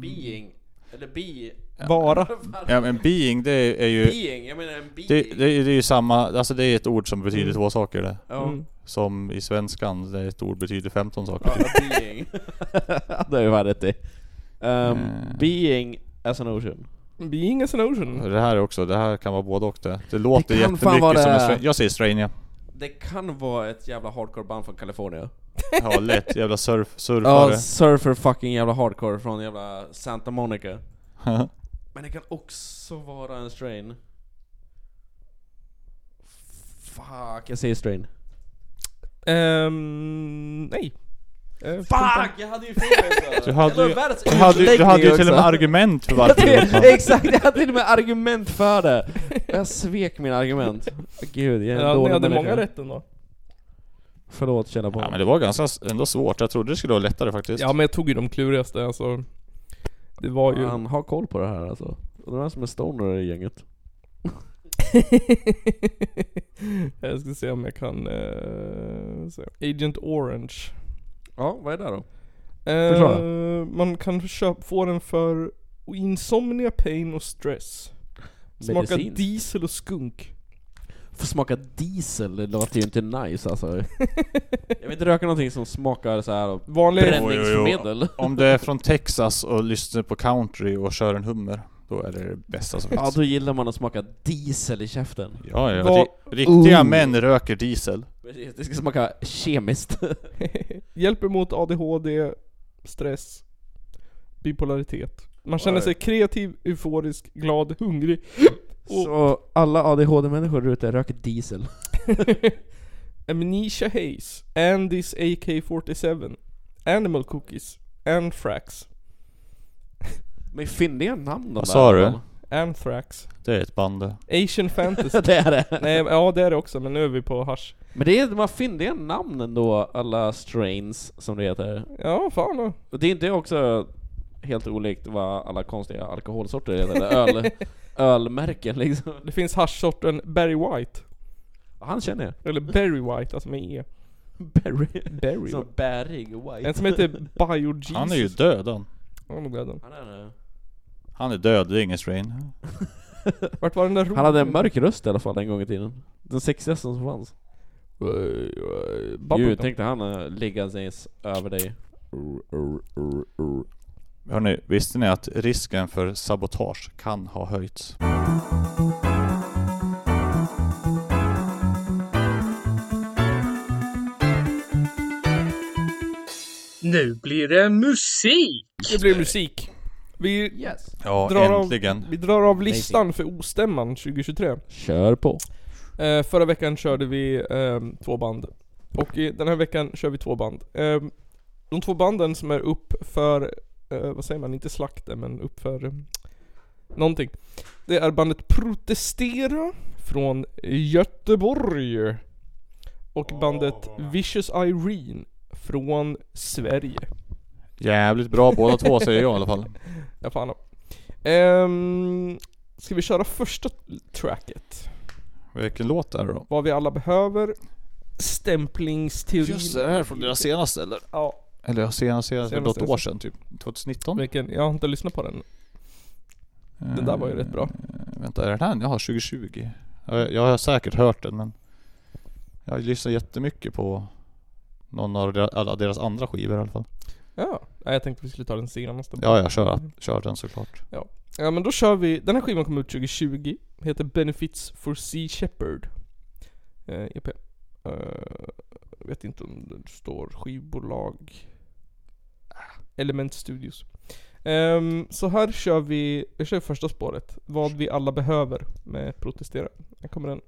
C: Being. Eller be.
A: Vara.
B: Ja men being det är ju...
C: Being, jag menar en being.
B: Det, det, det är ju samma, alltså det är ett ord som betyder två saker det.
C: Ja,
A: Mm.
B: Som i svenskan, det är ett ord betyder 15 saker.
C: ja, being. det har ju varit rätt i. Ehm,
B: Eh.
C: Being as an ocean.
A: Being as an ocean.
B: Det här är också, det här kan vara både och det. Det låter
C: Det kan fan
B: jättemycket som en
C: vara det.
B: strain. Jag säger strain ja.
C: Det kan vara ett jävla hardcore band från Kalifornien.
B: Ja lätt, jävla surf,
C: Ja,
B: surfare.
C: surfer fucking jävla hardcore från jävla Santa Monica. Men det kan också vara en strain. Fuck, jag säger strain.
A: Ehm, nej. Eh,
C: Fuck! Jag hade ju fel alltså.
B: Du hade
C: Det
B: ju,
C: var världens
B: du hade, ju- du hade ju
C: utläggning
B: till och med
C: också.
B: argument för varför
C: Jag
B: det
C: vet,
B: var
C: Exakt, jag hade till och med argument för det. Jag svek mina argument. Gud, jag är en
A: Ja, ni
C: dålig
A: hade
C: människa.
A: många rätt ändå.
C: Förlåt, känna på
B: Ja men
C: mig.
B: det var ganska s- ändå svårt, jag trodde det skulle vara lättare faktiskt.
A: Ja men jag tog ju de klurigaste alltså. Det var ju...
C: Han har koll på det här alltså. Och den här som är stoner i gänget.
A: jag ska se om jag kan... eh, se. Agent Orange.
C: Ja, vad är det då?
A: Eh,
C: Förklara.
A: man kan köpa, få den för insomnia, pain och stress. Smaka
C: Medicin.
A: diesel och skunk.
C: Få smaka diesel, det låter ju inte nice alltså. Jag vill inte röka någonting som smakar så här
A: Vanlig...
C: bränningsmedel.
B: Om du är från Texas och lyssnar på country och kör en hummer, då är det det bästa som
C: Ja,
B: finns.
C: då gillar man att smaka diesel i käften.
B: Ja, ja.
A: Vad-
B: ri- Riktiga
C: Ooh.
B: män röker diesel.
C: Precis, det ska smaka kemiskt.
A: Hjälper mot ADHD, stress, bipolaritet. Man känner sig kreativ, euforisk, glad, hungrig. Oh.
C: Så alla ADHD-människor där ute röker diesel.
A: Amnesia Haze, Andys AK47, Animal Cookies, Anthrax.
C: Men fyndiga namn de
B: Vad
C: där
B: sa
C: i
B: du?
C: alla fall.
A: Anthrax.
B: Det är ett band det.
A: Asian Fantasy.
C: det är det.
A: Nej, ja det är det också, men nu är vi på hasch.
C: Men det är de här fyndiga namnen då, alla strains som det heter.
A: Ja, fan då.
C: Och det är inte också helt olikt vad alla konstiga alkoholsorter heter, eller öl, ölmärken liksom.
A: Det finns haschsorten Barry White.
C: Han känner jag.
A: Eller Barry White, alltså med E.
C: Barry.
A: Barry.
C: Så bärig white.
A: En som heter Bio Jesus.
B: Han är ju död han.
A: Han är död.
C: Han, är,
B: Han är död, det är ingen strain.
A: Vart var den där
C: han hade en mörk röst i alla fall en gång i tiden. Den sexigaste som fanns.
A: Bubblegum.
C: Gud, tänkte han eh, liggandes över dig.
B: Hörni, visste ni att risken för sabotage kan ha höjts?
G: Nu blir det musik!
A: Det blir musik. Vi
C: Yes.
B: Ja,
A: drar, av,
B: äntligen.
A: vi drar av listan för ostämman 2023.
C: Kör på.
A: Eh, förra veckan körde vi ehm, två band. Och i, den här veckan kör vi två band. Ehm, de två banden som är upp för, eh, vad säger man, inte slakten men upp för eh, någonting. Det är bandet Protestera från Göteborg. Och bandet Vicious Irene från Sverige.
B: Jävligt bra båda två säger jag i alla fall.
A: Ja fan. Um, ska vi köra första tracket?
B: Vilken låt är det då?
A: Vad vi alla behöver. Stämplingsteorin.
B: Just det, det här är från deras senaste eller?
A: Ja,
B: Eller ja, senaste, senaste, det är
A: Senaste.
B: något år sedan typ. 2019?
A: Vilken, jag har inte lyssnat på den. Den där var ju rätt bra.
B: Eh, Vänta, är den här? Jaha, 2020. Jag, jag har säkert hört den men jag lyssnar jättemycket på någon av deras, alla deras andra skivor i alla fall.
A: Ja, nej, jag tänkte vi skulle ta den senaste.
B: Ja, jag kör, kör den såklart.
A: Ja, men då kör vi. Den här skivan kom ut 2020. Heter Benefits for Sea Shepherd. Eh, EP. Eh, vet inte om det står skivbolag. Element Studios. Ehm, så här kör vi, jag kör första spåret. Vad vi alla behöver med Protestera. Här kommer den.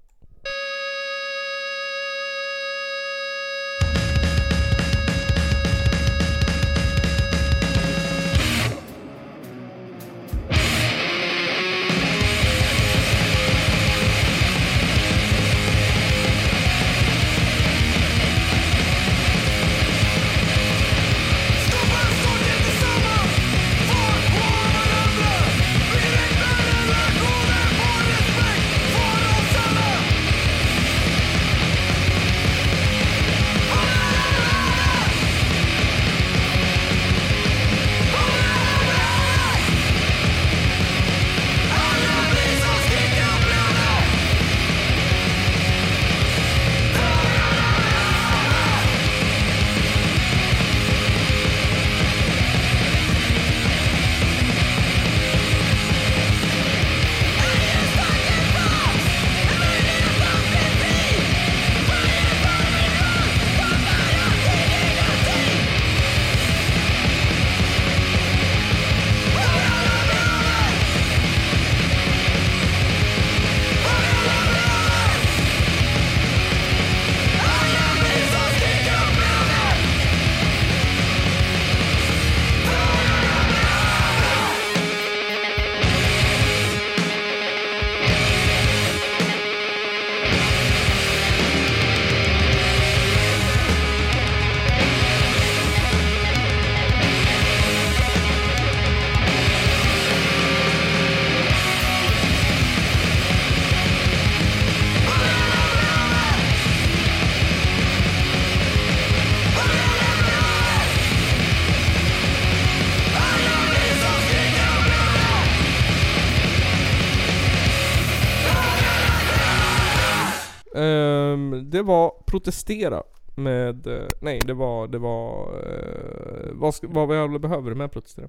A: Ehm, det var Protestera med, eh, nej det var, det var, eh, vad, ska, vad vi alla behöver med Protestera.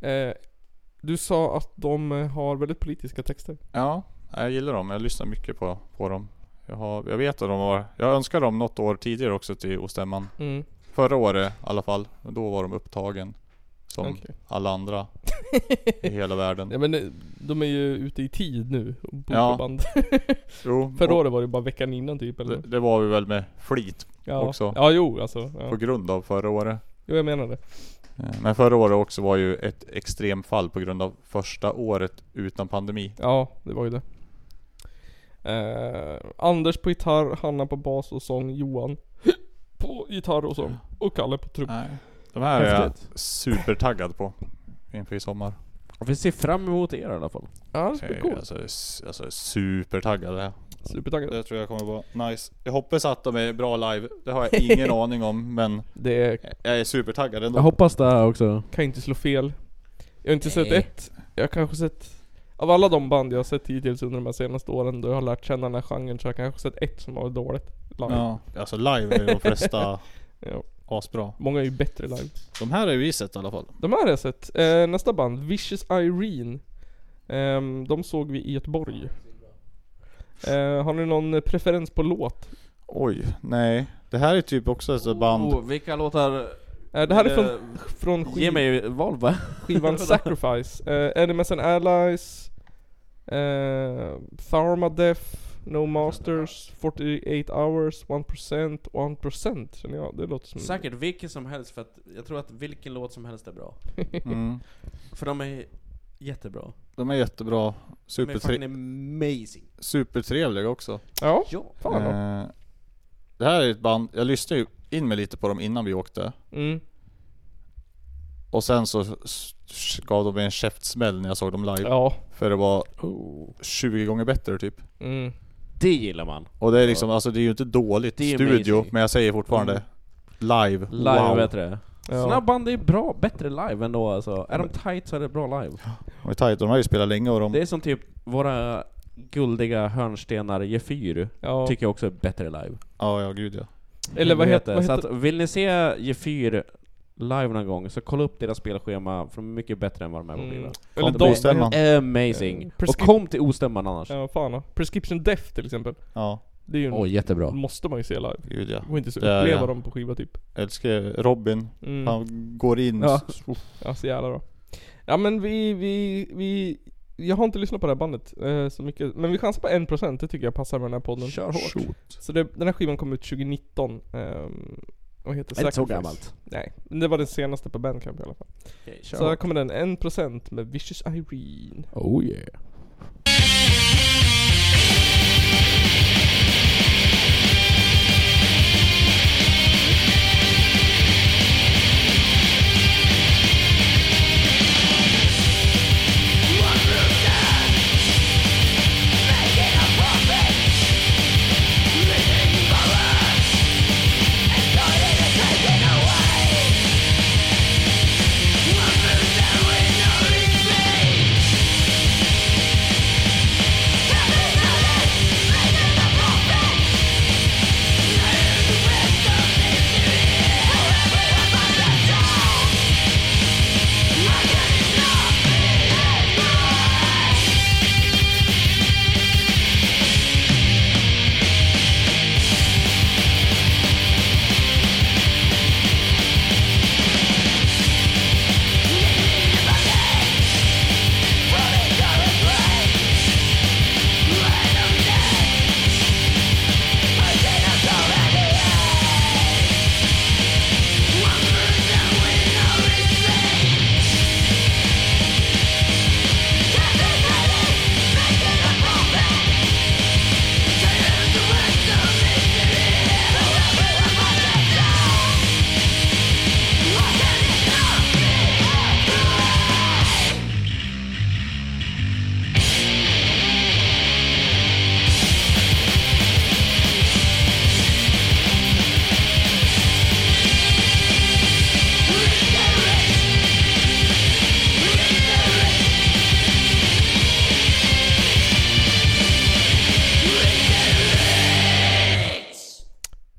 A: Eh, du sa att de eh, har väldigt politiska texter.
B: Ja, jag gillar dem. Jag lyssnar mycket på, på dem. Jag, har, jag vet att de var... Jag önskar dem något år tidigare också till Ostämman.
A: Mm.
B: Förra året i alla fall. Då var de upptagen. Som
A: Okej.
B: alla andra i hela
A: Ja
B: världen.
A: men eh, de är ju ute i tid nu och bokar
B: Ja.
A: band.
B: Jo,
A: Förra
B: och
A: året var det bara veckan innan typ eller?
B: det, det var vi väl med flit
A: ja.
B: också.
A: Ja jo alltså.
B: på
A: Ja.
B: grund av förra året.
A: Jo jag menar det.
B: Eh, Men förra året också var ju ett extremfall på grund av första året utan pandemi.
A: Ja det var ju det. Eh, Anders på gitarr, Hanna på bas och sång, Johan på gitarr och sång. Och Kalle på trummor.
B: Nej. De här är jag
C: Häftigt.
B: supertaggad på inför i sommar.
C: Och vi ser fram emot er i alla fall.
A: Ja det
B: Jag
A: blir
B: är
A: coolt.
B: alltså, alltså supertaggad. är jag.
A: Supertaggad.
B: Det tror jag kommer vara nice. Jag hoppas att de är bra live. Det har jag ingen aning om, men
A: Det
B: jag är supertaggad ändå.
C: Jag hoppas det också.
A: kan inte slå fel. Jag har inte sett
B: Nej.
A: ett. Jag har kanske sett... Av alla de band jag har sett hittills under de här senaste åren då jag har lärt känna den här genren så har jag kanske sett ett som har varit dåligt. Live.
B: Ja, alltså live är de flesta
A: Ja.
B: asbra.
A: Många är ju bättre live.
B: De här har ju vi sett i alla fall.
A: De här har jag sett. Eh, nästa band, Vicious Irene. Ehm, de såg vi i Göteborg. Eh, har ni någon eh, preferens på låt?
B: Oj, nej. Det här är typ också ett sånt band.
C: Oh, vilka låtar...
A: Eh, det här är
C: Eh,
A: från, från
C: Ge
A: skiv,
C: mig val va?
A: skivan Sacrifice. Eh, Enemies and Allies. Eh, Tharmadeath. No Masters. 48 Hours. 1%. 1% känner jag. Det låter som...
C: Säkert vilken som helst för att jag tror att vilken låt som helst är bra.
B: Mm.
C: För de är jättebra.
B: De är jättebra.
C: De är fucking
B: Supertre-
C: amazing.
B: supertrevliga också.
A: Ja.
C: Ja.
A: Fan då.
B: Eh, det här är ett band, jag lyssnade ju in mig lite på dem innan vi åkte.
A: Mm.
B: Och sen så s- s- gav de mig en käftsmäll när jag såg dem live.
A: Ja.
B: För det var Oh. 20 gånger bättre typ.
A: Mm.
C: Det gillar man.
B: Och det är liksom, alltså det är ju inte dåligt
C: Det är
B: studio,
C: amazing.
B: men jag säger fortfarande
C: Mm.
B: Live,
C: Live är
B: wow.
C: bättre.
A: Ja.
C: Såna här band är bra, bättre live ändå alltså. Är de tight så är det bra live.
B: De är tajta, de har ju spelat länge och de...
C: Det är som typ våra guldiga hörnstenar Gefyr,
A: Ja.
C: tycker jag också är bättre live.
B: Ja, ja gud ja.
A: Eller vad
C: Det
A: heter... Vad
C: Så
A: heter
C: att, vill ni se Gefyr live någon gång, så kolla upp deras spelschema, för de är mycket bättre än vad de är på
A: Mm.
C: skivan.
A: eller
B: Kom
A: de-
B: på stämman.
C: Amazing!
A: Eh,
C: Och
A: prescri-
C: kom till ostämman annars.
A: Ja, fan då. Prescription Death till exempel.
B: Ja,
A: Det är ju en,
C: Åh, jättebra.
A: måste man ju se live.
B: gud ja.
A: Det går inte så att
B: Det är
A: uppleva
B: det.
A: dem på skiva typ.
B: Jag älskar ju Robin.
A: Mm.
B: Han går in.
A: Ja.
B: s- uff.
A: Ja, så jävla bra. Ja men vi, vi, vi... Jag har inte lyssnat på det här bandet eh, så mycket, men vi chansar på 1%, det tycker jag passar med den här podden.
C: Kör hårt.
A: Så det, den här skivan kom ut 2019. ehm, och heter
C: Inte så
A: Sacrifice.
C: gammalt.
A: Nej, men det var den senaste på Bandcamp i alla fall.
C: Okej,
A: Så
C: kör
A: här
C: hårt.
A: kommer den, 1% med Vicious Irene.
C: Oh yeah.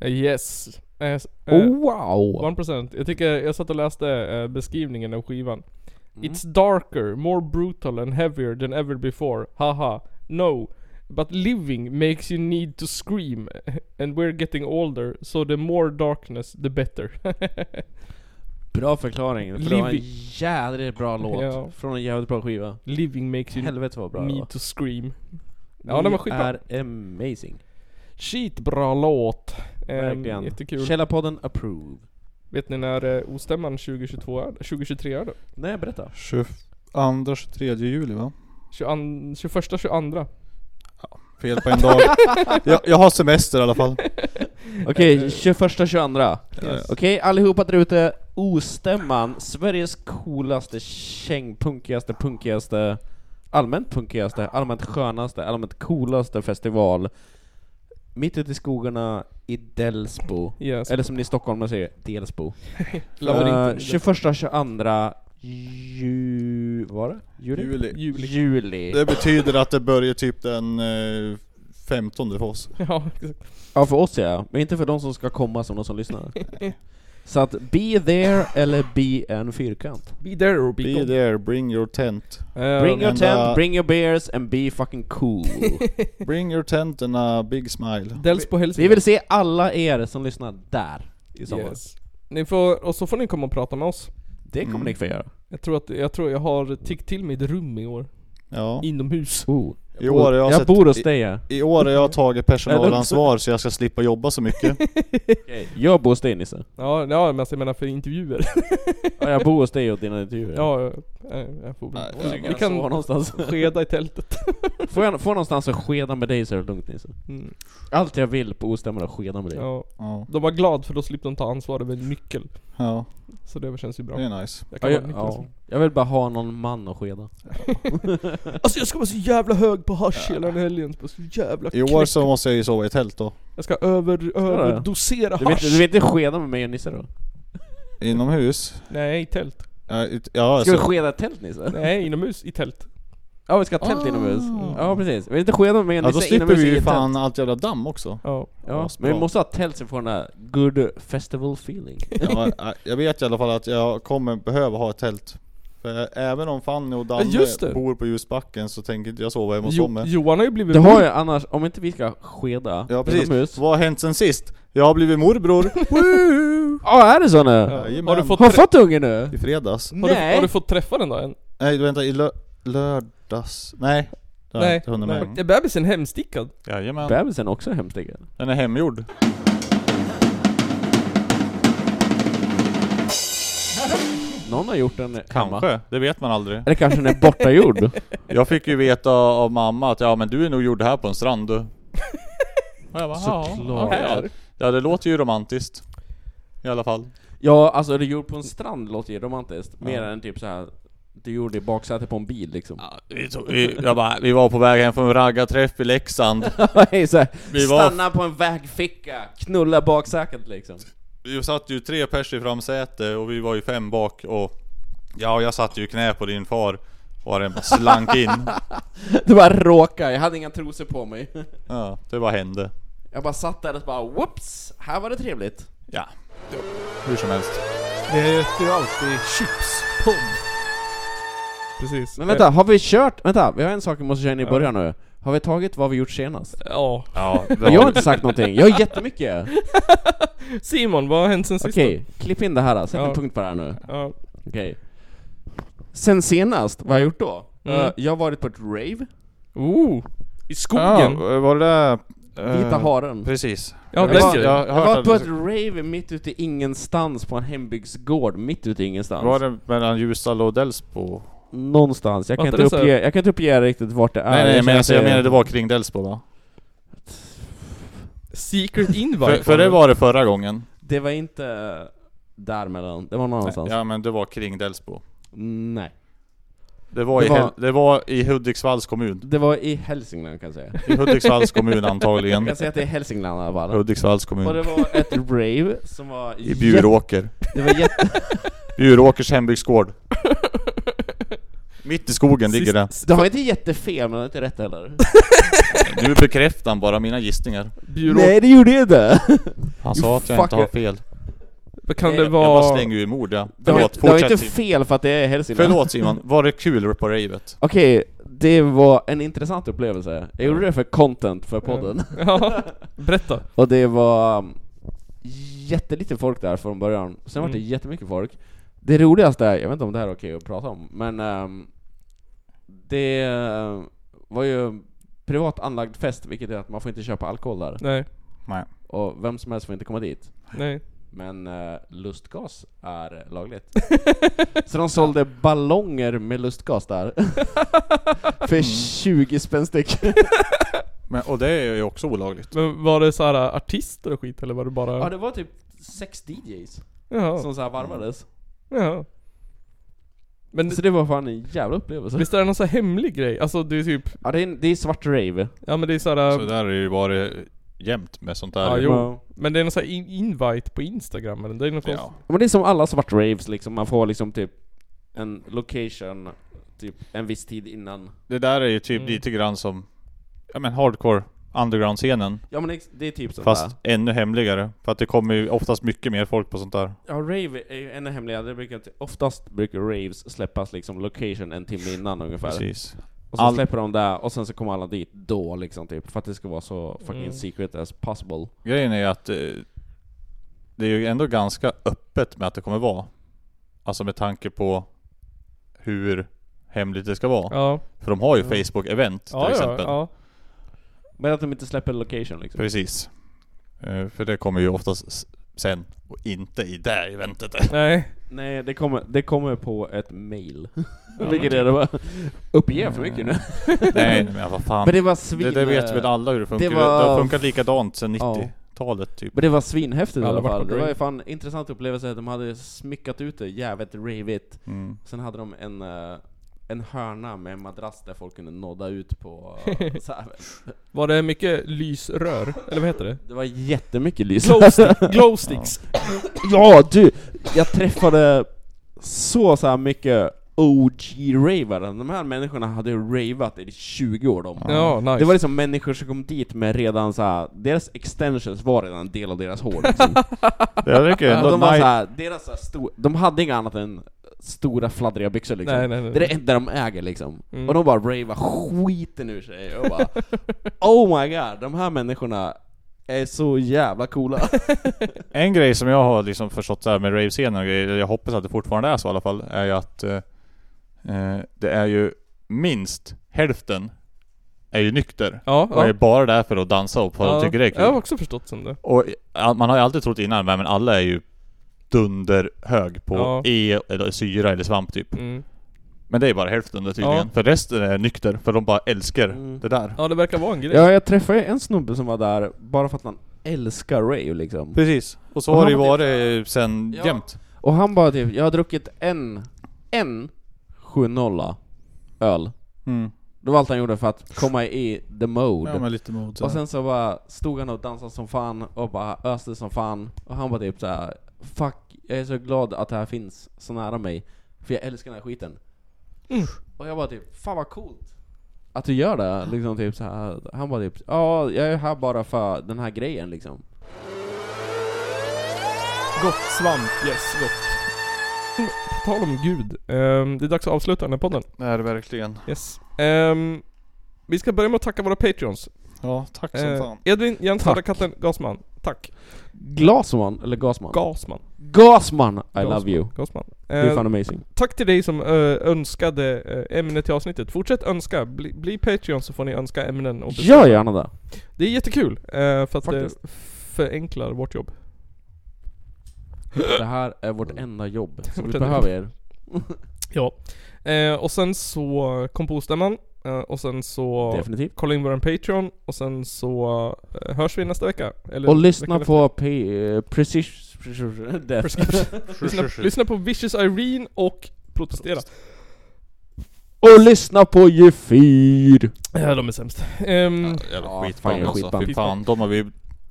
A: Eh, Yes. Eh, s- eh,
C: Oh, wow!
A: 1%. Jag tycker, jag satt och läste eh, beskrivningen av skivan.
C: Mm.
A: It's darker, more brutal and heavier than ever before. Haha. No. But living makes you need to scream. And we're getting older, so the more darkness the better.
C: Bra förklaring. För det var en
A: Living.
C: jädrigt bra låt.
A: Ja.
C: Från en jävligt bra skiva.
A: living makes you
C: Helvete vad bra det var.
A: need to scream. Ja, den var
C: Ni
A: skitbra.
C: är amazing.
A: Skitbra låt. Ehm,
C: Verkligen.
A: jättekul.
C: Källarpodden approve.
A: Vet ni när eh, Ostämman 2022 är? 2023 är det?
C: Nej, berätta.
B: 22, 23 juli va?
A: 21, 21, 22.
B: Fel på en dag. jag, jag har semester i alla fall.
C: Okej, 21, 22.
B: Yes.
C: Okej, allihopa där ute. Ostämman, Sveriges coolaste, kängpunkigaste, punkigaste, allmänt punkigaste, allmänt skönaste, allmänt coolaste festival. mitt ute i skogarna i Delsbo.
A: Yes.
C: Eller som ni stockholmare säger, Delsbo.
A: Labyrinten.
C: Eh, 21, 22 ju... Var det? Juli?
B: Juli.
A: Juli.
C: Juli.
B: Det betyder att det börjar typ den eh, 15 för oss.
A: Ja, exakt.
C: Ja, för oss ja. Men inte för de som ska komma som de som lyssnar. Så att be there eller be en fyrkant.
A: Be there or be,
B: Be
A: gone.
B: there, bring your tent.
A: Eh,
C: Bring your
B: men,
C: tent,
B: eh,
C: bring your beers and be fucking cool.
B: Bring your tent and a big smile.
A: Dels på Hälsingland.
C: Vi vill se alla er som lyssnar där i sommar.
A: Yes. Ni får, och så får ni komma och prata med oss.
C: Det kommer
B: Mm.
C: ni få göra.
A: Jag tror att, jag tror jag har tiggt till mig ett rum i år.
B: Ja.
A: Inomhus.
B: I år har jag,
C: jag
B: sett,
C: bor hos
B: i,
C: dig ja.
B: I år har jag tagit personalansvar så jag ska slippa jobba så mycket.
C: Jag bor hos dig Nisse.
A: Ja, ja men alltså, jag menar för intervjuer.
C: Ja, jag bor hos dig och dina intervjuer.
A: ja, jag, jag får
B: Nej,
A: bli.
C: Vi
A: Vi
C: kan sova
A: kan
C: någonstans.
A: skeda i tältet.
C: Får jag får någonstans att skeda med dig så är det lugnt Nisse.
A: Mm.
C: Allt jag vill på ostämman är att skeda med dig.
A: Ja.
B: Ja,
A: De var glada för då slipper de ta ansvar över en nyckel.
B: ja
A: Så det känns ju bra.
B: det är nice.
A: Jag kan vara
C: Mm. Ja, jag,
A: nyckeln
C: ja.
A: som-
C: jag vill bara ha någon man att skeda.
A: Alltså jag ska vara så jävla hög på hasch hela den helgen. Så bara Så jävla
B: I år
A: knäckt.
B: så måste jag ju sova i tält då.
A: Jag ska över, överdosera
C: Du vill,
A: hasch.
C: inte- du vill inte skeda med mig och Nisse då?
B: Alltså- Inomhus.
A: Nej, i tält.
B: Ja, ut- Ja,
C: Ska vi
B: alltså,
C: skeda ett tält Nisse?
A: Nej, inomhus i tält.
C: Ja vi ska ha ett tält inomhus. Ja precis. Vi vill inte skeda med mig och
B: ja då
C: Nisse
B: slipper
C: inomhus
B: vi
C: i
B: ju
C: ett tält.
B: fan allt jävla damm också.
A: Ja.
C: Ja,
B: Asbra.
C: men vi måste ha ett tält så vi får den där good festival feeling.
B: Ja, ja, jag vet i alla fall att jag kommer behöva ha ett tält. För även om Fanny och
A: Ja,
B: Danne
A: just det.
B: bor på ljusbacken så tänker inte jag sova hemma hos
A: Jo,
B: dem. med.
A: Johan har ju blivit
C: Det har jag annars, om inte vi ska skeda
B: Ja precis.
C: inomhus.
B: Vad har hänt sen sist? Jag har blivit morbror.
C: Ja är det så nu?
A: Har du
B: Jajamän.
A: fått,
C: Har du
A: trä-
C: fått unge nu?
B: I fredags.
A: har, du, har
C: Nej!
A: du fått träffa den då än?
B: Nej vänta, i lö- lördags? Nej. Det har jag inte hunnit
A: Är
B: med.
A: bebisen hemstickad?
B: Jajamän.
C: Bebisen också är hemstickad.
B: Den är hemgjord.
C: Någon har gjort den hemma.
B: Kanske. Det vet man aldrig.
C: Eller kanske den är bortagjord.
B: Jag fick ju veta av mamma att ja men du är nog gjord här på en strand du. Och jag bara,
C: Såklart.
B: Ja, okej. ja det låter ju romantiskt. I alla fall.
C: Ja, alltså det gjorde på en strand låter ju romantiskt. Mer än typ så här. Du gjorde i baksätet på en bil liksom.
B: Vi, tog, vi, jag bara, vi var på väg hem från en raggarträff i Leksand.
C: Nej, så här,
B: Vi var-
C: stanna på en vägficka, knulla baksätet liksom.
B: Vi satt ju tre pers i framsäte och vi var ju fem bak och ja, jag satt ju i knä på din far och den bara slank in.
C: Det bara råkade, jag hade inga trosor på mig.
B: Ja, det bara hände.
C: Jag bara satt där och bara whoops, här var det trevligt.
B: Ja, hur som helst.
A: Det heter ju alltid chips, pom. Precis.
C: Men vänta, har vi kört, vänta, vi har en sak vi måste köra in i början nu. Har vi tagit vad vi gjort senast?
A: Eh, Ja.
B: Ja, det
C: Men jag har
B: var,
C: inte sagt någonting, jag har jättemycket!
A: Simon, vad har hänt sen sist?
C: Okej, klipp in det här, sätt en
A: Ja.
C: punkt på det här nu.
A: Ja.
C: Okej. Sen senast, vad har jag gjort då?
A: Mm.
C: Eh, jag har varit på ett rave,
A: Oh! I skogen?
B: ja, var det där... eh,
C: hitta haren.
B: Precis.
A: Ja,
C: Jag
A: den
C: var,
A: grejen.
B: jag
C: jag
B: har
C: var
B: hört
C: på
B: att
C: ett rave mitt ute i ingenstans på en hembygdsgård, mitt ute i ingenstans.
B: Var det mellan Ljusdal och Delsbo?
C: Någonstans, jag kan,
A: Var
C: inte
A: inte det så-
C: uppge, jag kan inte uppge riktigt vart det är.
B: nej nej men
C: känner
B: alltså,
C: att
B: jag menar det var kring Delsbo va?
A: Secret invite?
B: För, för det var det förra gången.
C: Det var inte där mellan, det var någon annanstans.
B: Ja men det var kring Delsbo.
C: Nej.
B: Det var,
C: Det
B: i,
C: var-
B: Hel- det var i Hudiksvalls kommun.
C: Det var i Hälsingland kan jag säga.
B: I Hudiksvalls kommun
C: Jag
B: antagligen.
C: kan säga att det är Hälsingland i alla fall.
B: Hudiksvalls
C: Och det
B: kommun.
C: var ett rave som var
B: I Bjuråker.
C: jätte- Det var jätte...
B: Bjuråkers hembygdsgård. Mitt i skogen ligger det.
C: Det har inte jättefel, men det är inte rätt heller.
B: Nu bekräftar han bara mina gissningar.
A: Byrå...
C: det gjorde jag inte!
B: Han
C: You
B: sa att jag
C: fucker.
B: inte har fel.
A: Kan det
C: Nej, jag
B: Jag bara
A: vara...
B: slänger ur mord ja.
C: Det var,
B: Förlåt,
C: det var inte
B: fortsätt Simon.
C: fel för att det är Hälsingland.
B: Förlåt Simon, var det kul på ravet?
C: Okej, det var en intressant upplevelse. Jag gjorde det för content för podden.
A: Ja. Berätta.
C: Och det var um, jättelite folk där från början, sen var det
A: Mm.
C: jättemycket folk. Det roligaste, är- jag vet inte om det här är okej att prata om, men um, det uh, var ju privat anlagd fest, vilket är att man får inte köpa alkohol där.
A: Nej.
B: Nej.
C: Och vem som helst får inte komma dit.
A: Nej.
C: Men eh, lustgas är lagligt. Så de sålde ballonger med lustgas där. För 20 spänn styck.
B: Men, och det är ju också olagligt.
A: Men var det så här äh, artister och skit eller var det bara...
C: Ja, det var typ sex DJs
A: Jaha.
C: som så här varvades.
A: Jaha. Men
C: Så det var fan en jävla upplevelse.
A: visst är det någon så här hemlig grej? Alltså det är typ...
C: Ja, det är, det är svart rave.
A: Ja men det är så
B: Så
A: här... äh,
B: där är ju bara jämt med sånt
A: Ja,
B: där.
A: jo. Men det är någon sån här in- invite på Instagram eller? Det är något
B: Ja.
A: konstigt.
C: Ja, Men det är som alla svart raves liksom, man får liksom typ en location typ en viss tid innan.
B: Det där är ju typ
A: Mm.
B: lite grann som, ja men hardcore underground-scenen.
C: Ja men ex- det är typ sånt
B: Fast
C: där.
B: ännu hemligare. För att det kommer ju oftast mycket mer folk på sånt där.
C: Ja, rave är ju ännu hemligare. Det brukar, inte- oftast brukar raves släppas liksom location en timme innan ungefär.
B: Precis.
C: Och sen
B: All-
C: släpper de där och sen så kommer alla dit då liksom typ. För att det ska vara så fucking
A: Mm.
C: secret as possible.
B: Grejen är ju att eh, det är ju ändå ganska öppet med att det kommer vara. Alltså med tanke på hur hemligt det ska vara.
A: Ja.
B: För de har ju Facebook-event till
A: Ja, ja,
B: exempel.
A: ja.
C: Men att de inte släpper location liksom.
B: Precis. Eh, För det kommer ju oftast s- sen och inte i det här eventet.
A: Nej.
C: Nej, det kommer, det kommer på ett mail. Vilket är det bara... Uppge för mycket nu.
B: Nej men vad fan.
C: Men det var svin... eh,
B: Det, det vet väl alla hur det funkar.
C: det
B: Det,
C: var-
B: det har funkat likadant sedan
C: Ja.
B: 90-talet typ.
C: Men det var svinhäftigt i
A: Alla
C: alla
A: vart på
C: fall. Det
A: Drake.
C: var ju fan intressant upplevelse. De hade smyckat ut det jävligt ravigt.
B: Mm.
C: Sen hade de en, eh, en hörna med en madrass där folk kunde nodda ut på... eh, Så här.
A: Var det mycket lysrör? Eller vad heter det?
C: Det var jättemycket lys.
A: Glowstick, glowsticks.
C: Ja du! Jag träffade så så här mycket OG-ravare. De här människorna hade ju ravat i 20 år de.
A: Ja, nice.
C: Det var liksom människor som kom dit med redan så här, deras extensions var redan en del av deras hår liksom.
B: Jag tycker
C: Ja,
B: ändå
C: de, var
B: nice.
C: såhär, deras såhär sto- de hade inga annat än stora fladdriga byxor liksom.
A: Nej, nej, nej.
C: Det är det enda de äger liksom.
A: Mm.
C: Och de bara ravear skiten ur sig och bara Oh my god, de här människorna är så jävla coola.
B: En grej som jag har liksom förstått så här med rave-scenen och grejer, eller jag hoppas att det fortfarande är så i alla fall, är ju att eh, eh, det är ju minst hälften är ju nykter.
A: ja,
B: Och är
A: ja.
B: bara där för att dansa och vad
A: ja.
B: de tycker det är kul.
A: Jag har också förstått som det.
B: Och ja, man har ju alltid trott innan, men alla är ju dunderhög på
A: Ja.
B: E eller syra eller svamp typ.
A: Mm.
B: Men det är bara hälften då tydligen.
A: Ja.
B: För resten är nykter, för de bara älskar
C: Mm.
B: det där.
A: Ja, det verkar vara en grej.
C: ja, jag träffade en snubbe som var där bara för att han älskar rave liksom.
B: Precis. Och så
C: Och
B: har
C: han
B: det ju
C: var
B: varit
A: typ-
B: eh, sen
C: Ja.
B: jämt.
C: Och han bara typ, jag har druckit en, en 7-0 öl.
B: Mm.
C: Det var allt han gjorde för att komma i the mode.
B: lite mod
C: Och sen så bara stod han och dansade som fan och bara öste som fan Och han var typ såhär Fuck, jag är så glad att det här finns så nära mig För jag älskar den här skiten Och jag bara typ, fan vad coolt Att du gör det, liksom typ så här. Han bara typ, ja jag är här bara för den här grejen liksom
A: Gott svamp, yes, gott. På tal om Gud. ehm, det är dags att avsluta den här podden.
B: Det är det verkligen.
A: Yes. Ehm, vi ska börja med att tacka våra patreons.
B: Ja, tack som
A: Uh,
B: fan.
A: Edvin, Jens,
C: Tack.
A: Harda, Katten, Gasman. Tack.
C: Glasman, eller Gasman?
A: Gasman.
C: Gasman! I
A: Gasman.
C: love you
A: Gasman.
C: Du är
A: Eh,
C: fan amazing
A: tack till dig som eh, önskade eh, ämne till avsnittet. Fortsätt önska. Bli, bli Patreon så får ni önska ämnen och bestämma.
C: Gör gärna det!
A: Det är jättekul. eh, för att
C: Faktiskt.
A: det förenklar vårt jobb.
C: Det här är vårt enda jobb, så vi
A: Vårt enda
C: behöver er
A: Ja. Eh, och sen så kompostämman. Eh, och sen så...
C: Definitivt
A: Kolla in vår Patreon och sen så eh, hörs vi nästa vecka. Eller
C: Och
A: veckan
C: lyssna
A: efter.
C: på P- Precision... Death
A: lyssna, lyssna på Vicious Irene och protestera.
C: Och lyssna på G4!
A: Ja, de är sämst. Ehm,
B: Jävla
C: Ja, fan,
B: skitband alltså.
C: skitband.
B: Fy fan, de har vi...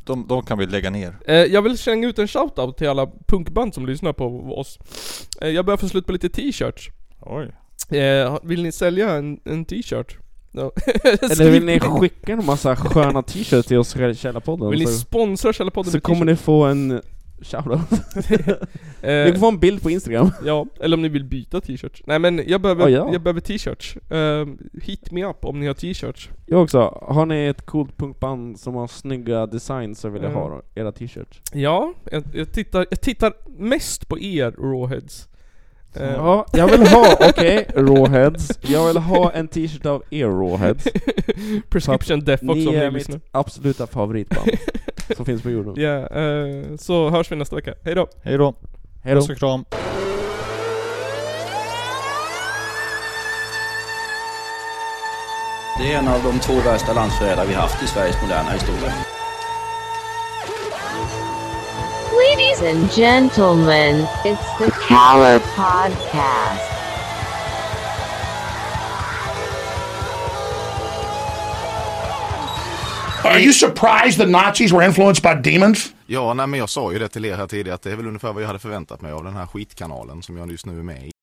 B: De, de kan vi lägga ner.
A: eh, jag vill slänga ut en shoutout till alla punkband som lyssnar på oss. Eh, jag börjar få slut på lite t-shirts.
B: Oj.
A: Eh, vill ni sälja en, en t-shirt? Ja. Alltså,
C: Eller vill ni skicka en massa sköna t-shirts till oss i Källarpodden?
A: Vill ni
C: så,
A: sponsra Eh. Källarpodden
C: så kommer ni få en... Shoutout. Ni
A: eh,
C: får en bild på Instagram.
A: Ja, eller om ni vill byta t-shirts. Nej men jag behöver,
C: Ja, Ah, ja.
A: jag behöver t-shirts. Ehm, hit me up om ni har t-shirts.
C: Jag också. Har ni ett coolt punkband som har snygga designs så vill jag
A: Mm.
C: ha era t-shirts.
A: Ja, jag, jag, tittar, jag tittar mest på er rawheads. Eh,
C: Ja, jag vill ha, okej, rawheads. Jag vill ha en t-shirt av er rawheads.
A: Prescription Death också
C: Ni
A: om ni
C: är mitt
A: lyssnar.
C: absoluta favoritband som finns på jorden.
A: Ja, eh, så hörs vi nästa vecka. Hejdå!
B: Hej då.
C: Hejdå!
B: Puss och kram.
D: Det är en av de två värsta landsförrädare vi haft i Sveriges moderna historia.
E: Ladies and gentlemen, it's the Caller Podcast.
H: Are you surprised the Nazis were influenced by demons?
I: Ja, nej men jag sa ju det till er här tidigare att det är väl ungefär vad jag hade förväntat mig av den här skitkanalen som jag just nu är med i.